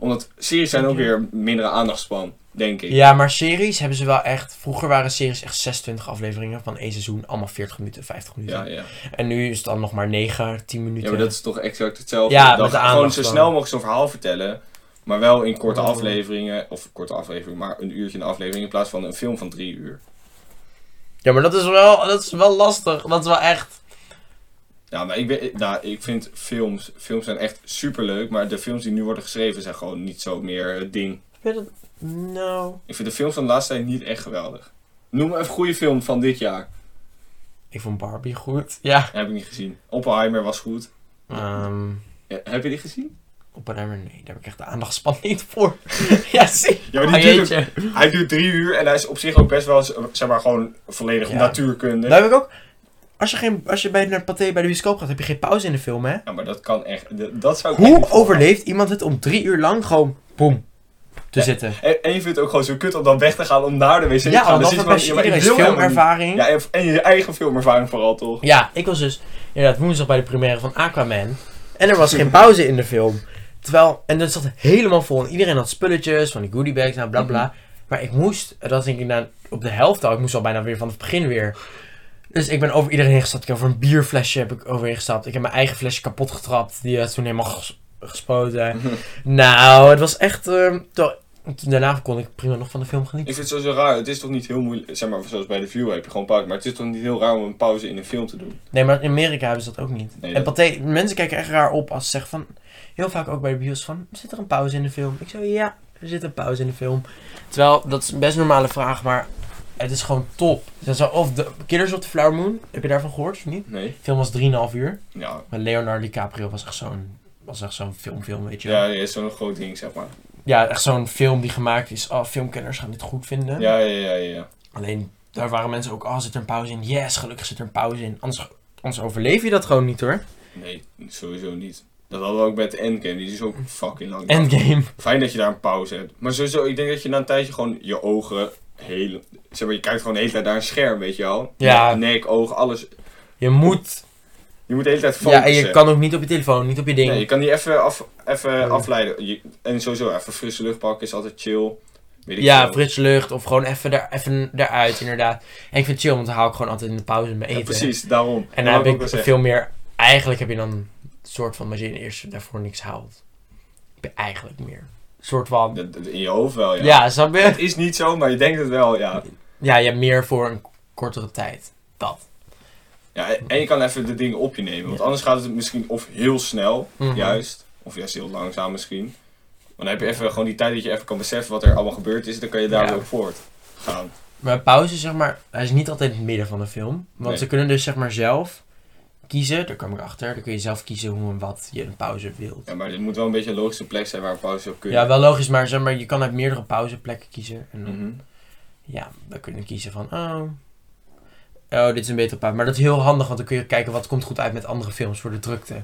Speaker 2: Omdat series zijn ook weer mindere aandachtspan, denk ik.
Speaker 1: Ja, maar series hebben ze wel echt. Vroeger waren series echt 26 afleveringen van één seizoen, allemaal 40 minuten, 50 minuten.
Speaker 2: ja, ja.
Speaker 1: En nu is het dan nog maar 9, 10 minuten.
Speaker 2: Ja, maar dat is toch exact hetzelfde.
Speaker 1: Ja,
Speaker 2: dan
Speaker 1: met de
Speaker 2: gewoon zo
Speaker 1: aandachtspan.
Speaker 2: snel mogelijk zo'n verhaal vertellen. Maar wel in korte
Speaker 1: Oh.
Speaker 2: afleveringen, of korte afleveringen, maar een uurtje een aflevering in plaats van een film van drie uur.
Speaker 1: Ja, maar dat is wel, dat is wel lastig. Dat is wel echt.
Speaker 2: Ja, maar ik, ben, nou, ik vind films, films zijn echt superleuk, maar de films die nu worden geschreven zijn gewoon niet zo meer het ding.
Speaker 1: Nou.
Speaker 2: Ik vind de films van de laatste tijd niet echt geweldig. Noem even een goede film van dit jaar.
Speaker 1: Ik vond Barbie goed. Ja.
Speaker 2: Heb ik niet gezien. Oppenheimer was goed.
Speaker 1: Ehm
Speaker 2: Ja, heb je die gezien?
Speaker 1: Oppenheimer, nee, daar heb ik echt de aandachtspan niet voor. ja, zie.
Speaker 2: Ja, maar die
Speaker 1: Ah,
Speaker 2: duurt
Speaker 1: jeetje.
Speaker 2: Hij duurt drie uur en hij is op zich ook best wel, zeg maar, gewoon volledig
Speaker 1: Ja.
Speaker 2: natuurkunde.
Speaker 1: Nou heb ik ook. Als je, geen, als je bij, naar Pathé bij de bioscoop gaat, heb je geen pauze in de film, hè?
Speaker 2: Ja, maar dat kan echt. d- Dat zou ik echt
Speaker 1: Hoe
Speaker 2: niet volhouden.
Speaker 1: overleeft iemand het om drie uur lang gewoon, boem, te
Speaker 2: Ja.
Speaker 1: zitten?
Speaker 2: En, en je vindt het ook gewoon zo kut om dan weg te gaan om naar de wc te
Speaker 1: Ja,
Speaker 2: gaan.
Speaker 1: want
Speaker 2: Dan
Speaker 1: dat is
Speaker 2: zit je gewoon-
Speaker 1: bij
Speaker 2: ja, maar ik
Speaker 1: iedereen's
Speaker 2: wil helemaal niet.
Speaker 1: filmervaring.
Speaker 2: Ja, en, en je eigen filmervaring vooral toch?
Speaker 1: Ja, ik was dus inderdaad woensdag bij de première van Aquaman. En er was geen pauze in de film. Terwijl, en dat zat helemaal vol. En iedereen had spulletjes van die goodiebags, nou bla bla. Maar ik moest, en dat denk ik nou, op de helft al, ik moest al bijna weer van het begin weer. Dus ik ben over iedereen heen gestapt. Ik heb over een bierflesje heb ik overheen gestapt. Ik heb mijn eigen flesje kapot getrapt. Die had toen helemaal ges- gespoten. nou, het was echt... ehm, terwijl- toen daarna kon ik prima nog van de film genieten.
Speaker 2: Ik vind het sowieso raar. Het is toch niet heel moeilijk. Zeg maar, zoals bij de view heb je gewoon pauze. Maar het is toch niet heel raar om een pauze in een film te doen.
Speaker 1: Nee, maar in Amerika hebben ze dat ook niet.
Speaker 2: Nee,
Speaker 1: en
Speaker 2: dat-
Speaker 1: Pathé, mensen kijken echt raar op als ze zeggen van... Heel vaak ook bij de bios van, zit er een pauze in de film? Ik zo, ja, er zit een pauze in de film. Terwijl, dat is een best normale vraag, maar het is gewoon top. Dus zo, of de Killers of the Flower Moon, heb je daarvan gehoord of niet?
Speaker 2: Nee?
Speaker 1: De film was 3,5 uur.
Speaker 2: Ja.
Speaker 1: Maar Leonardo DiCaprio was echt zo'n was echt zo'n filmfilm, weet je wel.
Speaker 2: Ja,
Speaker 1: Ja.
Speaker 2: ja, is zo'n groot ding, zeg maar.
Speaker 1: echt zo'n film die gemaakt is, oh, filmkenners gaan dit goed vinden.
Speaker 2: Ja, ja, ja, ja.
Speaker 1: Alleen, daar waren mensen ook, oh, zit er een pauze in? Yes, gelukkig zit er een pauze in. Anders, anders overleef je dat gewoon niet hoor.
Speaker 2: Nee, sowieso niet. Dat hadden we ook met de Endgame, die is ook fucking lang.
Speaker 1: Endgame.
Speaker 2: Fijn dat je daar een pauze hebt. Maar sowieso, ik denk dat je na een tijdje gewoon je ogen heel... Zeg maar, je kijkt gewoon de hele tijd naar een scherm, weet je al?
Speaker 1: Ja.
Speaker 2: Nek, oog, alles.
Speaker 1: Je moet.
Speaker 2: Je moet de hele tijd focussen.
Speaker 1: Ja, en je kan ook niet op je telefoon, niet op je ding.
Speaker 2: Nee, je kan die even, af, even
Speaker 1: Ja.
Speaker 2: afleiden. Je- en sowieso, even frisse lucht pakken is altijd chill. Weet ik
Speaker 1: ja,
Speaker 2: veel.
Speaker 1: frisse lucht of gewoon even, daar, even eruit, inderdaad. En ik vind het chill, want dan haal ik gewoon altijd in de pauze mijn
Speaker 2: Ja,
Speaker 1: eten.
Speaker 2: precies, daarom.
Speaker 1: En
Speaker 2: Dat
Speaker 1: dan heb
Speaker 2: wou ook
Speaker 1: ik
Speaker 2: wel zeggen.
Speaker 1: veel meer. Eigenlijk heb je dan een soort van, als je in de eerste daarvoor niks haalt, heb je eigenlijk meer. Een soort van.
Speaker 2: Dat- dat- In je hoofd wel, ja.
Speaker 1: Ja, snap je?
Speaker 2: Het is niet zo, maar je denkt het wel, ja.
Speaker 1: Ja, je hebt meer voor een kortere tijd. Dat.
Speaker 2: Ja, en je kan even de dingen op je nemen. Want
Speaker 1: Ja.
Speaker 2: anders gaat het misschien of heel snel,
Speaker 1: Mhm.
Speaker 2: juist. Of juist heel langzaam misschien. Maar dan heb je even gewoon die tijd dat je even kan beseffen wat er allemaal gebeurd is. Dan kan je daar
Speaker 1: Ja.
Speaker 2: weer op voort gaan.
Speaker 1: Maar pauze, zeg maar, hij is niet altijd in het midden van de film. Want
Speaker 2: Nee.
Speaker 1: ze kunnen dus, zeg maar, zelf kiezen. Daar kwam ik achter. Dan kun je zelf kiezen hoe en wat je een pauze wilt.
Speaker 2: Ja, maar het moet wel een beetje een logische plek zijn waar een pauze op kunnen.
Speaker 1: Ja, wel logisch, maar, zeg maar je kan uit meerdere pauzeplekken kiezen. En dan,
Speaker 2: Mhm.
Speaker 1: ja, dan kun je kiezen van, oh, oh, dit is een betere pauze. Maar dat is heel handig, want dan kun je kijken wat komt goed uit met andere films voor de drukte.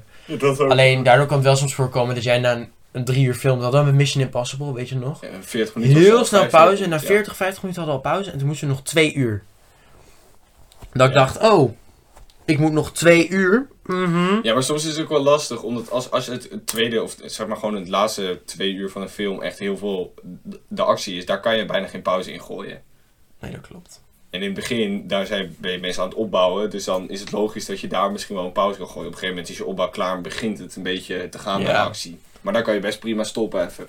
Speaker 1: Alleen daardoor kan het wel soms voorkomen dat jij na een, een drie uur film, dat hadden we met Mission Impossible, weet je nog?
Speaker 2: Ja, 40 Eh, minuten. of
Speaker 1: Heel
Speaker 2: zo,
Speaker 1: snel
Speaker 2: 50
Speaker 1: pauze, en na
Speaker 2: minuten,
Speaker 1: 40, 50 minuten hadden we al pauze, en toen moesten we nog twee uur. Dat ik
Speaker 2: Ja.
Speaker 1: dacht, oh, ik moet nog twee uur. Mhm.
Speaker 2: Ja. ja, maar soms is het ook wel lastig. Omdat als, als het het tweede, of zeg maar gewoon het laatste twee uur van een film echt heel veel de- de actie is. Daar kan je bijna geen pauze in gooien.
Speaker 1: Nee, dat klopt.
Speaker 2: En in het begin, daar zijn, ben je meestal aan het opbouwen. Dus dan is het logisch dat je daar misschien wel een pauze kan gooien. Op een gegeven moment is je opbouw klaar en begint het een beetje te gaan
Speaker 1: Ja.
Speaker 2: met de actie. Maar daar kan je best prima stoppen even.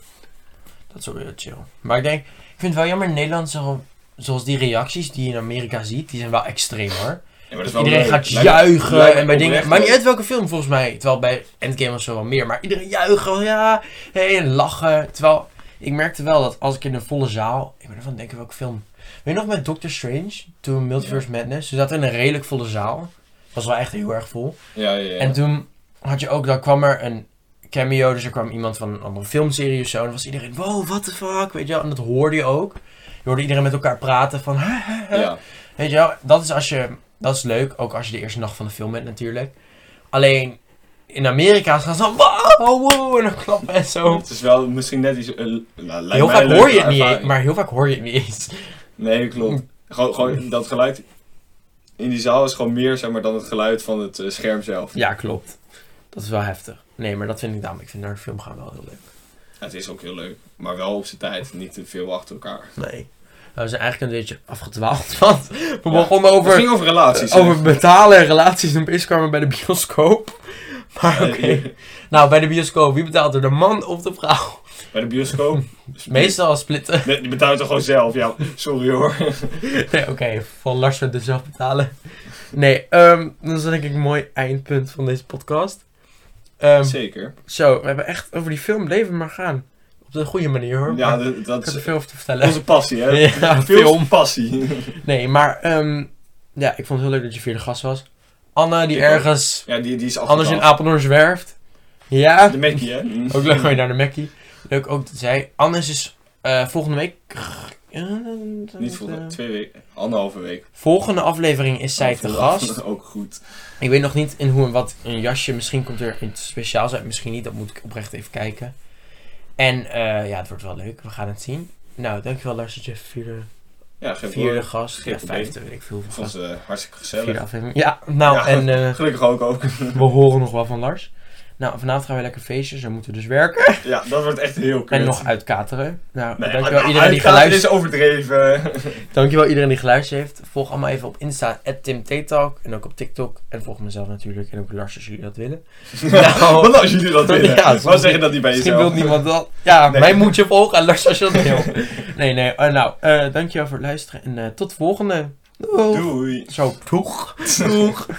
Speaker 1: Dat is wel weer chill. Maar ik denk, ik vind het wel jammer in Nederland, zo- zoals die reacties die je in Amerika ziet, die zijn wel extreem hoor.
Speaker 2: Ja, maar dat is wel
Speaker 1: Iedereen
Speaker 2: leuk.
Speaker 1: gaat
Speaker 2: Lijkt me-
Speaker 1: juichen
Speaker 2: lijkt me
Speaker 1: en bij dingen.
Speaker 2: oprecht
Speaker 1: Maakt niet
Speaker 2: leuk.
Speaker 1: uit welke film volgens mij. Terwijl bij Endgame was er wel meer. Maar iedereen juichen, oh ja, hey, en lachen. Terwijl ik merkte wel dat als ik in een volle zaal. Ik ben ervan denken welke film. Weet je nog met Doctor Strange? Toen Multiverse Madness. Ze zaten in een redelijk volle zaal. Was wel echt heel erg vol.
Speaker 2: Ja, ja, ja.
Speaker 1: En toen had je ook, dan kwam er een cameo. Dus er kwam iemand van een andere filmserie of zo. En dan was iedereen, wow, what the fuck, weet je wel. En dat hoorde je ook. Je hoorde iedereen met elkaar praten van... "Hè, hè, hè."
Speaker 2: Ja.
Speaker 1: Weet je wel, dat is, als je, dat is leuk. Ook als je de eerste nacht van de film bent natuurlijk. Alleen, in Amerika gaan ze dan... Wow, wow, en dan klappen en zo.
Speaker 2: Het is wel misschien net iets... eh, nou, lijkt
Speaker 1: Heel
Speaker 2: mij
Speaker 1: vaak
Speaker 2: een
Speaker 1: hoor je
Speaker 2: leukere
Speaker 1: het niet eens,
Speaker 2: ervaring.
Speaker 1: maar heel vaak hoor je het niet eens.
Speaker 2: Nee, klopt.
Speaker 1: Hm.
Speaker 2: Gewoon, gewoon dat geluid in die zaal is gewoon meer zeg maar, dan het geluid van het eh, scherm zelf.
Speaker 1: Ja, klopt. Dat is wel heftig. Nee, maar dat vind ik daarom. Ik vind naar een film gaan wel heel leuk.
Speaker 2: Het is ook heel leuk, maar wel op zijn tijd, niet te veel achter elkaar.
Speaker 1: Nee. Nou, we zijn eigenlijk een beetje afgedwaald, want we
Speaker 2: Ja.
Speaker 1: begonnen
Speaker 2: Het
Speaker 1: over,
Speaker 2: ging over relaties. hè?
Speaker 1: over betalen en relaties en opeens kwamen we bij de bioscoop. Maar
Speaker 2: Eh,
Speaker 1: oké. Nou, bij de bioscoop, wie betaalt er? De man of de vrouw?
Speaker 2: Bij de bioscoop.
Speaker 1: Meestal splitten.
Speaker 2: Nee, je betaalt toch gewoon zelf, ja. Sorry hoor.
Speaker 1: Nee, oké. Van Lars zou het dus zelf betalen. Nee, ehm, dat is denk ik een mooi eindpunt van deze podcast. Ehm,
Speaker 2: Zeker.
Speaker 1: zo, we hebben echt over die film leven maar gaan. Op de goede manier hoor.
Speaker 2: Ja,
Speaker 1: Maar
Speaker 2: dat, dat
Speaker 1: ik heb er
Speaker 2: is
Speaker 1: veel over te vertellen.
Speaker 2: onze passie, hè?
Speaker 1: Ja,
Speaker 2: Veel
Speaker 1: film.
Speaker 2: passie.
Speaker 1: Nee, maar ehm, ja, ik vond het heel leuk dat je vierde gast was. Anne, die
Speaker 2: Ik ook.
Speaker 1: ergens
Speaker 2: Ja, die, die is
Speaker 1: anders in
Speaker 2: afgedaan.
Speaker 1: Apeldoorn zwerft. Ja,
Speaker 2: De Mackie, hè?
Speaker 1: ook leuk je naar de Mackie. Leuk ook dat zij. Anne is dus, eh, volgende week. eh,
Speaker 2: Niet volgende, twee weken, anderhalve week.
Speaker 1: Volgende aflevering is zij te
Speaker 2: Volgende
Speaker 1: gast.
Speaker 2: aflevering Ook goed.
Speaker 1: Ik weet nog niet in hoe en wat een jasje. Misschien komt er iets speciaals uit, misschien niet. Dat moet ik oprecht even kijken. En eh, ja, het wordt wel leuk. We gaan het zien. Nou, dankjewel Lars dat je vierde,
Speaker 2: Ja, geen
Speaker 1: vierde
Speaker 2: probleem.
Speaker 1: gast.
Speaker 2: Geen
Speaker 1: Ja,
Speaker 2: probleem.
Speaker 1: vijfde, weet ik veel.
Speaker 2: Ik
Speaker 1: hoeveel
Speaker 2: vond
Speaker 1: gast.
Speaker 2: het eh, hartstikke
Speaker 1: Vierde
Speaker 2: gezellig.
Speaker 1: aflevering. Ja, nou
Speaker 2: Ja.
Speaker 1: en... eh,
Speaker 2: Gelukkig ook ook.
Speaker 1: We horen nog wel van Lars. Nou, vanavond gaan we lekker feestjes. Dan moeten we dus werken.
Speaker 2: Ja, dat wordt echt heel kut.
Speaker 1: En nog uitkateren. Nou,
Speaker 2: Nee,
Speaker 1: dankjewel,
Speaker 2: maar-
Speaker 1: iedereen die
Speaker 2: uitgaven
Speaker 1: geluisterd,
Speaker 2: is overdreven.
Speaker 1: dankjewel iedereen die geluisterd heeft. Volg allemaal even op Insta, TimTalk. En ook op TikTok. En volg mezelf natuurlijk. En ook Lars als jullie dat willen. Nou,
Speaker 2: Want als jullie dat willen,
Speaker 1: Ja,
Speaker 2: ja,
Speaker 1: soms-
Speaker 2: zeggen dat niet bij
Speaker 1: Misschien
Speaker 2: jezelf.
Speaker 1: wil niemand dat. Ja,
Speaker 2: Nee.
Speaker 1: mij moet je volgen. En Lars als je dat wil. Nee, nee. eh, nou, eh, dankjewel voor het luisteren. En eh, tot de volgende. Doeg.
Speaker 2: Doei.
Speaker 1: Zo, doeg. Doeg.